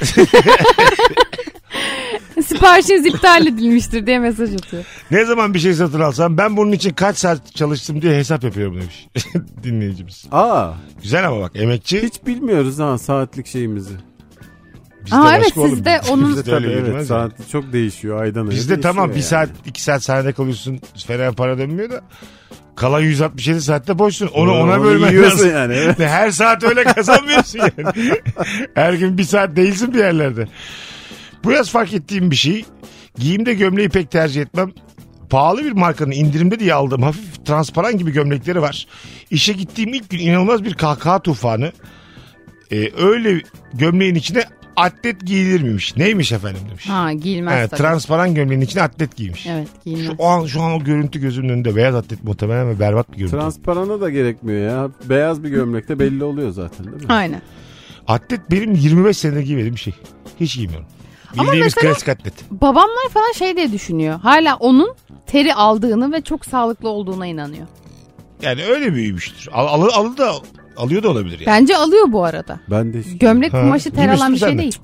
[SPEAKER 5] Siparişiniz iptal edilmiştir diye mesaj atıyor.
[SPEAKER 3] Ne zaman bir şey satın alsam ben bunun için kaç saat çalıştım diye hesap yapıyorum demiş dinleyicimiz.
[SPEAKER 4] Aa
[SPEAKER 3] Güzel ama bak emekçi.
[SPEAKER 4] hiç bilmiyoruz ha saatlik şeyimizi.
[SPEAKER 3] Bizde
[SPEAKER 5] Aa,
[SPEAKER 3] başka
[SPEAKER 5] evet,
[SPEAKER 3] oğlum.
[SPEAKER 5] sizde
[SPEAKER 3] Bizde
[SPEAKER 5] onun-
[SPEAKER 4] Bizde tabii
[SPEAKER 3] öyle
[SPEAKER 4] evet
[SPEAKER 3] yürümez yani.
[SPEAKER 4] saati çok değişiyor aydan aya
[SPEAKER 3] Bizde tamam bir
[SPEAKER 4] değişiyor yani.
[SPEAKER 3] saat iki saat sahnede kalıyorsun fena para dönmüyor da kalan 167 saatte boşsun. Onu
[SPEAKER 4] Onu-
[SPEAKER 3] ona
[SPEAKER 4] onu
[SPEAKER 3] bölmen
[SPEAKER 4] yiyorsun
[SPEAKER 3] lazım.
[SPEAKER 4] yani, evet.
[SPEAKER 3] Her saat öyle kazanmıyorsun yani. Her gün bir saat değilsin bir yerlerde. Bu yaz fark ettiğim bir şey. Giyimde gömleği pek tercih etmem. Pahalı bir markanın indirimde diye aldığım hafif transparan gibi gömlekleri var. İşe gittiğim ilk gün inanılmaz bir kahkaha tufanı. Ee, öyle gömleğin içine atlet giyilir miymiş? Neymiş efendim demiş.
[SPEAKER 5] Ha giyilmez
[SPEAKER 3] Evet,
[SPEAKER 5] tabii.
[SPEAKER 3] transparan gömleğin içine atlet giymiş.
[SPEAKER 5] evet giyilmez.
[SPEAKER 3] Şu an şu an o görüntü gözümün önünde. Beyaz atlet muhtemelen ve berbat bir görüntü.
[SPEAKER 4] Transparana da gerekmiyor ya. Beyaz bir gömlekte belli oluyor zaten değil mi?
[SPEAKER 5] Aynen.
[SPEAKER 3] atlet benim 25 senedir giymediğim bir şey. Hiç giymiyorum.
[SPEAKER 5] Ama
[SPEAKER 3] Bildiğimiz
[SPEAKER 5] mesela-
[SPEAKER 3] klasik atlet.
[SPEAKER 5] Babamlar falan şey diye düşünüyor. Hala onun teri aldığını ve çok sağlıklı olduğuna inanıyor.
[SPEAKER 3] E- Yani öyle büyümüştür. Al, alı, alı da alıyor da olabilir yani.
[SPEAKER 5] Bence alıyor bu arada.
[SPEAKER 4] Ben de hiç.
[SPEAKER 5] Gömlek
[SPEAKER 3] Ha,
[SPEAKER 5] kumaşı ter
[SPEAKER 3] giymişsin
[SPEAKER 5] alan bir
[SPEAKER 3] sen
[SPEAKER 5] şey
[SPEAKER 3] de.
[SPEAKER 5] değil.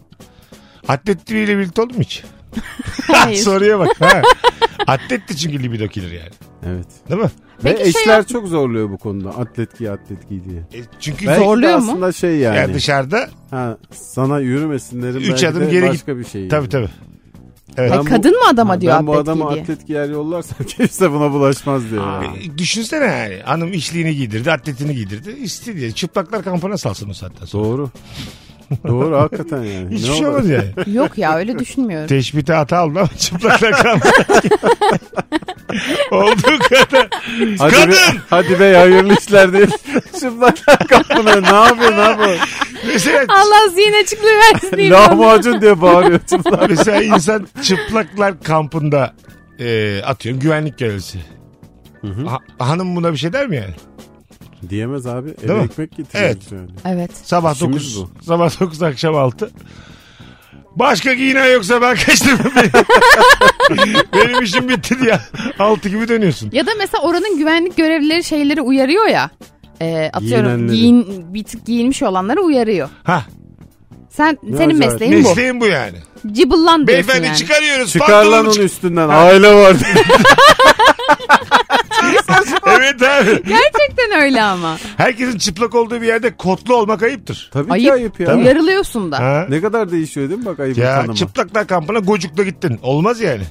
[SPEAKER 3] Atlet biriyle birlikte oldun mu hiç?
[SPEAKER 5] Hayır.
[SPEAKER 3] Soruya bak. Ha. atlet de çünkü libido killer yani.
[SPEAKER 4] Evet.
[SPEAKER 3] Değil mi?
[SPEAKER 5] Peki
[SPEAKER 4] Ve
[SPEAKER 5] şey
[SPEAKER 4] eşler
[SPEAKER 5] yap-
[SPEAKER 4] çok zorluyor bu konuda. Atlet giy atlet giy diye.
[SPEAKER 3] E, çünkü
[SPEAKER 4] Belki de
[SPEAKER 5] Zorluyor mu?
[SPEAKER 4] aslında şey yani.
[SPEAKER 3] yani dışarıda
[SPEAKER 4] Ha, sana yürümesinlerin
[SPEAKER 3] Üç
[SPEAKER 4] belki
[SPEAKER 3] adım
[SPEAKER 4] de
[SPEAKER 3] geri
[SPEAKER 4] başka bir şey.
[SPEAKER 3] tabii tabii.
[SPEAKER 5] Ay,
[SPEAKER 4] Ben bu-
[SPEAKER 5] kadın mı adama diyor
[SPEAKER 4] ben bu
[SPEAKER 5] atlet
[SPEAKER 4] adama
[SPEAKER 5] giy diye.
[SPEAKER 4] atlet giyer yollarsam kimse buna bulaşmaz diyor. Yani.
[SPEAKER 3] E, düşünsene yani. Hanım işliğini giydirdi, atletini giydirdi. İstedi diye. Çıplaklar kampına salsın o saatten sonra.
[SPEAKER 4] Doğru. Doğru hakikaten yani.
[SPEAKER 3] Hiçbir
[SPEAKER 4] Ne
[SPEAKER 3] şey
[SPEAKER 4] olur?
[SPEAKER 3] olmaz yani.
[SPEAKER 5] Yok ya öyle düşünmüyorum.
[SPEAKER 3] Teşbite hata aldı ama çıplaklar kalmadı. Olduğu kadar.
[SPEAKER 4] Hadi
[SPEAKER 3] Kadın!
[SPEAKER 4] Be, hadi be hayırlı işler değil. Çıplaklar kapına ne yapıyor ne yapıyor?
[SPEAKER 3] Mesela,
[SPEAKER 5] Allah zihin açıklığı versin diyeyim.
[SPEAKER 4] Lahmacun diye bağırıyor çıplak.
[SPEAKER 3] mesela insan çıplaklar kampında e, atıyorum güvenlik görevlisi. Ha- hanım buna bir şey der mi yani?
[SPEAKER 4] Diyemez abi. Eve
[SPEAKER 3] Değil mi?
[SPEAKER 4] ekmek getiriyoruz
[SPEAKER 3] Evet.
[SPEAKER 4] yani.
[SPEAKER 5] Evet.
[SPEAKER 3] Sabah
[SPEAKER 4] İşimiz
[SPEAKER 3] 9 sabah 9 akşam 6. Başka giyinen yoksa ben kaçtım. Benim işim bitti diye 6 gibi dönüyorsun.
[SPEAKER 5] Ya da mesela oranın güvenlik görevlileri şeyleri uyarıyor ya. Ee, atıyorum
[SPEAKER 4] Giyinenleri.
[SPEAKER 5] giyin, bir tık giyinmiş olanları uyarıyor.
[SPEAKER 3] Ha,
[SPEAKER 5] Sen
[SPEAKER 4] Ne
[SPEAKER 5] senin
[SPEAKER 4] acayip.
[SPEAKER 5] mesleğin
[SPEAKER 3] mesleğim bu yani.
[SPEAKER 5] bu. Cıbıllan diyorsun
[SPEAKER 3] Beyefendi
[SPEAKER 5] yani.
[SPEAKER 3] çıkarıyoruz.
[SPEAKER 4] Çıkar lan
[SPEAKER 3] pantolonu
[SPEAKER 4] onun
[SPEAKER 3] çık-
[SPEAKER 4] üstünden. Aile var.
[SPEAKER 3] Evet abi.
[SPEAKER 5] Gerçekten öyle ama.
[SPEAKER 3] Herkesin çıplak olduğu bir yerde kotlu olmak ayıptır.
[SPEAKER 4] Tabii ki
[SPEAKER 5] Ayıp.
[SPEAKER 4] ayıp ya.
[SPEAKER 5] Uyarılıyorsun da.
[SPEAKER 3] Ha?
[SPEAKER 4] Ah, Ne kadar değişiyor değil mi bak ayıbın
[SPEAKER 3] Ya
[SPEAKER 4] tanımı.
[SPEAKER 3] çıplaklar kampına gocukla gittin. Olmaz yani.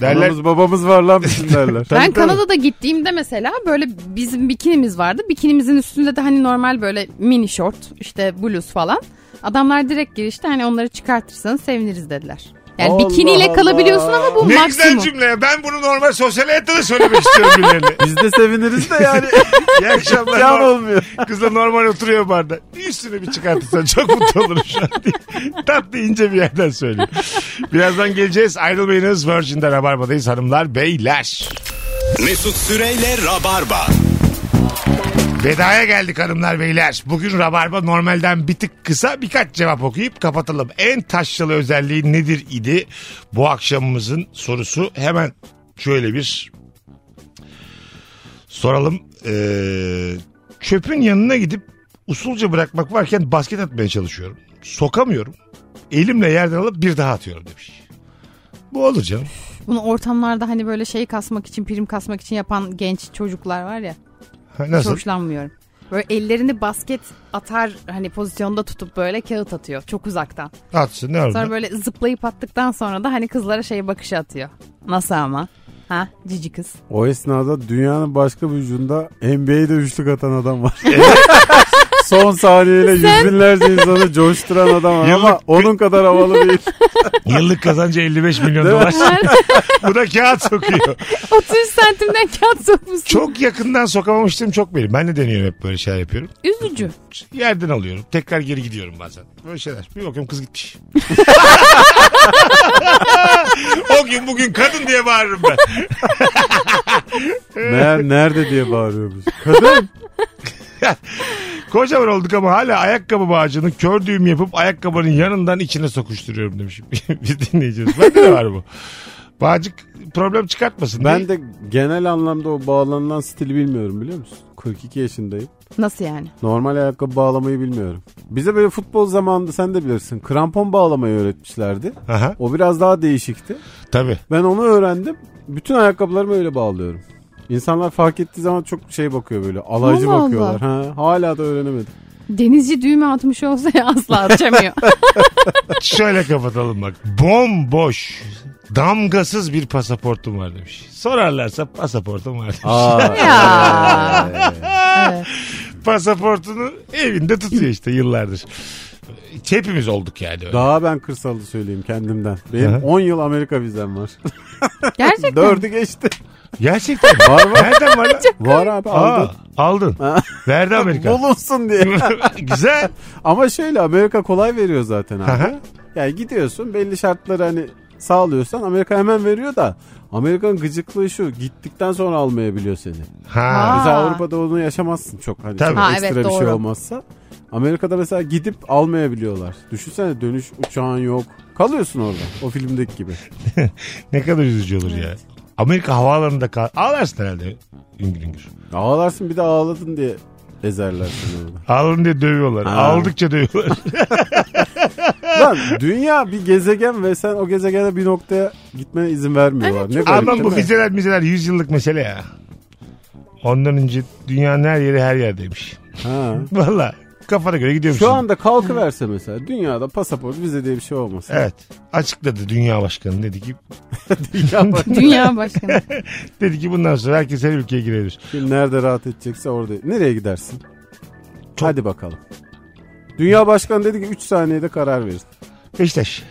[SPEAKER 3] Derler.
[SPEAKER 4] Anamız babamız var lan bizim derler.
[SPEAKER 3] Tabii, tabii.
[SPEAKER 5] ben Kanada'da gittiğimde mesela böyle bizim bikinimiz vardı. Bikinimizin üstünde de hani normal böyle mini short işte bluz falan. Adamlar direkt girişte hani onları çıkartırsanız seviniriz dediler. Yani
[SPEAKER 4] Allah
[SPEAKER 5] bikiniyle
[SPEAKER 4] Allah.
[SPEAKER 5] kalabiliyorsun ama bu
[SPEAKER 3] Ne güzel
[SPEAKER 5] maksimum.
[SPEAKER 3] cümle. ya. Ben bunu normal sosyal hayatta da söylemek istiyorum birilerine.
[SPEAKER 4] Biz de seviniriz de yani.
[SPEAKER 3] İyi akşamlar.
[SPEAKER 4] Can olmuyor.
[SPEAKER 3] Kızla normal oturuyor barda. Üstünü bir çıkartırsan çok mutlu olurum şu an diye. Tatlı ince bir yerden söylüyor. Birazdan geleceğiz. Ayrılmayınız. Virgin'de Rabarba'dayız hanımlar beyler.
[SPEAKER 2] Mesut Süreyle Rabarba.
[SPEAKER 3] Vedaya geldik hanımlar beyler. Bugün Rabarba normalden bir tık kısa birkaç cevap okuyup kapatalım. En taşralı özelliği nedir idi? Bu akşamımızın sorusu hemen şöyle bir soralım. Ee, çöpün yanına gidip usulca bırakmak varken basket atmaya çalışıyorum. Sokamıyorum. Elimle yerden alıp bir daha atıyorum demiş. Bu olur canım.
[SPEAKER 5] Bunu ortamlarda hani böyle şey kasmak için prim kasmak için yapan genç çocuklar var ya.
[SPEAKER 3] Ha,
[SPEAKER 5] Hiç
[SPEAKER 3] Nasıl?
[SPEAKER 5] hoşlanmıyorum. Böyle ellerini basket atar hani pozisyonda tutup böyle kağıt atıyor çok uzaktan.
[SPEAKER 3] Atsın ne olur.
[SPEAKER 5] Sonra böyle zıplayıp attıktan sonra da hani kızlara şey bakışı atıyor. Nasıl ama? Ha cici kız.
[SPEAKER 4] O esnada dünyanın başka bir ucunda NBA'de üçlük atan adam var. Son saniyeyle yüz binlerce insanı coşturan adam var ama
[SPEAKER 3] Yıllık-
[SPEAKER 4] onun kadar havalı değil.
[SPEAKER 3] Yıllık kazancı 55 milyon dolar. Bu da kağıt sokuyor.
[SPEAKER 5] 30 santimden kağıt sokmuşsun.
[SPEAKER 3] Çok yakından sokamamıştım çok benim. Ben de deniyorum hep böyle şeyler yapıyorum.
[SPEAKER 5] Üzücü.
[SPEAKER 3] Yerden alıyorum. Tekrar geri gidiyorum bazen. Böyle şeyler. Bir bakıyorum kız gitmiş. o gün bugün kadın diye bağırırım ben.
[SPEAKER 4] Meğer nerede diye bağırıyormuş. Kadın
[SPEAKER 3] Kocaman olduk ama hala ayakkabı bağcını kör düğüm yapıp ayakkabının yanından içine sokuşturuyorum demişim. Biz dinleyeceğiz. Bende de var bu. Bağcık problem çıkartmasın.
[SPEAKER 4] ben de genel anlamda o bağlanılan stili bilmiyorum biliyor musun? 42 yaşındayım.
[SPEAKER 5] Nasıl yani?
[SPEAKER 4] Normal ayakkabı bağlamayı bilmiyorum. Bize böyle futbol zamanında sen de bilirsin krampon bağlamayı öğretmişlerdi.
[SPEAKER 3] Aha,
[SPEAKER 4] O biraz daha değişikti.
[SPEAKER 3] tabii.
[SPEAKER 4] Ben onu öğrendim. Bütün ayakkabılarımı öyle bağlıyorum. İnsanlar fark ettiği zaman çok şey bakıyor böyle. Alaycı
[SPEAKER 5] Allah
[SPEAKER 4] bakıyorlar. Ha, hala da öğrenemedim.
[SPEAKER 5] Denizci düğme atmış olsa ya asla atacamıyor.
[SPEAKER 3] Şöyle kapatalım bak. Bomboş, damgasız bir pasaportum var demiş. Sorarlarsa pasaportum var demiş.
[SPEAKER 5] ya.
[SPEAKER 3] Pasaportunu evinde tutuyor işte yıllardır. Hepimiz olduk yani. öyle.
[SPEAKER 4] Daha ben kırsalı söyleyeyim kendimden. Benim
[SPEAKER 3] Aha.
[SPEAKER 4] 10 yıl Amerika vizem var.
[SPEAKER 5] Gerçekten.
[SPEAKER 4] Dördü geçti.
[SPEAKER 3] Gerçekten.
[SPEAKER 4] Var var.
[SPEAKER 3] Nereden var lan?
[SPEAKER 4] var abi
[SPEAKER 3] Aa,
[SPEAKER 4] aldım.
[SPEAKER 3] aldın. Verdi Amerika.
[SPEAKER 4] Bulunsun diye.
[SPEAKER 3] Güzel.
[SPEAKER 4] Ama şöyle Amerika kolay veriyor zaten abi.
[SPEAKER 3] Aha.
[SPEAKER 4] yani gidiyorsun belli şartları hani sağlıyorsan Amerika hemen veriyor da Amerika'nın gıcıklığı şu gittikten sonra almayabiliyor seni.
[SPEAKER 3] Ha.
[SPEAKER 4] Mesela
[SPEAKER 5] Aa.
[SPEAKER 4] Avrupa'da onu yaşamazsın çok hani
[SPEAKER 3] Tabii.
[SPEAKER 4] çok
[SPEAKER 5] Ha,
[SPEAKER 4] ekstra
[SPEAKER 5] evet,
[SPEAKER 4] bir şey
[SPEAKER 5] doğru.
[SPEAKER 4] olmazsa. Amerika'da mesela gidip almayabiliyorlar. Düşünsene dönüş uçağın yok. Kalıyorsun orada o filmdeki gibi.
[SPEAKER 3] Ne kadar üzücü olur ya. Amerika havaalanında kal. Ağlarsın herhalde. Üngür üngür.
[SPEAKER 4] Ağlarsın bir de ağladın diye ezerler seni orada.
[SPEAKER 3] Ağladın diye dövüyorlar.
[SPEAKER 4] Ha.
[SPEAKER 3] Ağladıkça dövüyorlar.
[SPEAKER 4] Lan dünya bir gezegen ve sen o gezegene bir noktaya gitmene izin vermiyorlar. ne garip
[SPEAKER 3] Ama
[SPEAKER 4] değil
[SPEAKER 3] bu
[SPEAKER 4] mi?
[SPEAKER 3] vizeler vizeler 100 yıllık mesele ya. Ondan önce dünyanın her yeri her yerdeymiş.
[SPEAKER 4] Ha.
[SPEAKER 3] Valla kafana göre gidiyormuşsun.
[SPEAKER 4] Şu anda kalkıverse mesela dünyada pasaport vize diye bir şey olmasın.
[SPEAKER 3] Evet. Açıkladı dünya başkanı dedi ki
[SPEAKER 4] Dünya bak-
[SPEAKER 5] Dünya başkanı.
[SPEAKER 3] dedi ki bundan sonra herkes her ülkeye girebilir.
[SPEAKER 4] Kim nerede rahat edecekse orada. Nereye gidersin? Hadi bakalım. Dünya başkanı dedi ki 3 saniyede karar verir.
[SPEAKER 3] Beşiktaş.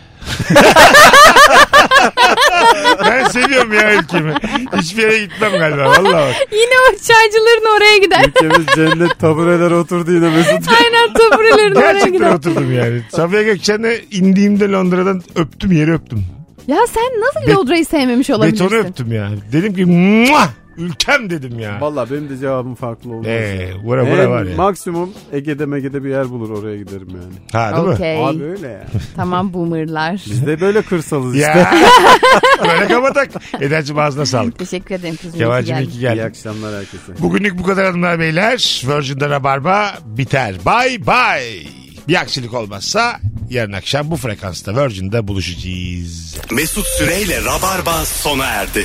[SPEAKER 3] ben seviyorum ya ülkemi. Hiçbir yere gitmem galiba. Vallahi bak.
[SPEAKER 5] Yine o çaycıların oraya gider.
[SPEAKER 4] Ülkemiz cennet tabureler oturdu yine Mesut.
[SPEAKER 5] Aynen taburelerin oraya
[SPEAKER 3] Gerçekten
[SPEAKER 5] gider.
[SPEAKER 3] oturdum yani. Safiye Gökçen'e indiğimde Londra'dan öptüm yeri öptüm.
[SPEAKER 5] Ya sen nasıl Lodra'yı sevmemiş olabilirsin?
[SPEAKER 3] Betonu öptüm ya. Dedim ki "Mua! Ülkem dedim ya.
[SPEAKER 4] Valla benim de cevabım farklı oldu.
[SPEAKER 3] Ee, vura vura
[SPEAKER 4] En
[SPEAKER 3] var ya.
[SPEAKER 4] Maksimum Ege'de Mege'de bir yer bulur oraya giderim yani.
[SPEAKER 3] Ha değil mi?
[SPEAKER 5] Okey.
[SPEAKER 4] Abi öyle ya.
[SPEAKER 5] Tamam boomerlar.
[SPEAKER 4] Biz de böyle kırsalız işte.
[SPEAKER 3] Ya. Böyle kapatak. Eda'cığım ağzına sağlık.
[SPEAKER 5] Teşekkür ederim kızım. iyi ki
[SPEAKER 3] Kemal'cim iyi
[SPEAKER 5] geldin.
[SPEAKER 3] ki
[SPEAKER 4] İyi
[SPEAKER 3] geldin.
[SPEAKER 4] akşamlar herkese.
[SPEAKER 3] Bugünlük bu kadar hanımlar beyler. Virgin'de Rabarba biter. Bye bye. Bir aksilik olmazsa yarın akşam bu frekansta Virgin'de buluşacağız.
[SPEAKER 2] Mesut Süreyle Rabarba sona erdi.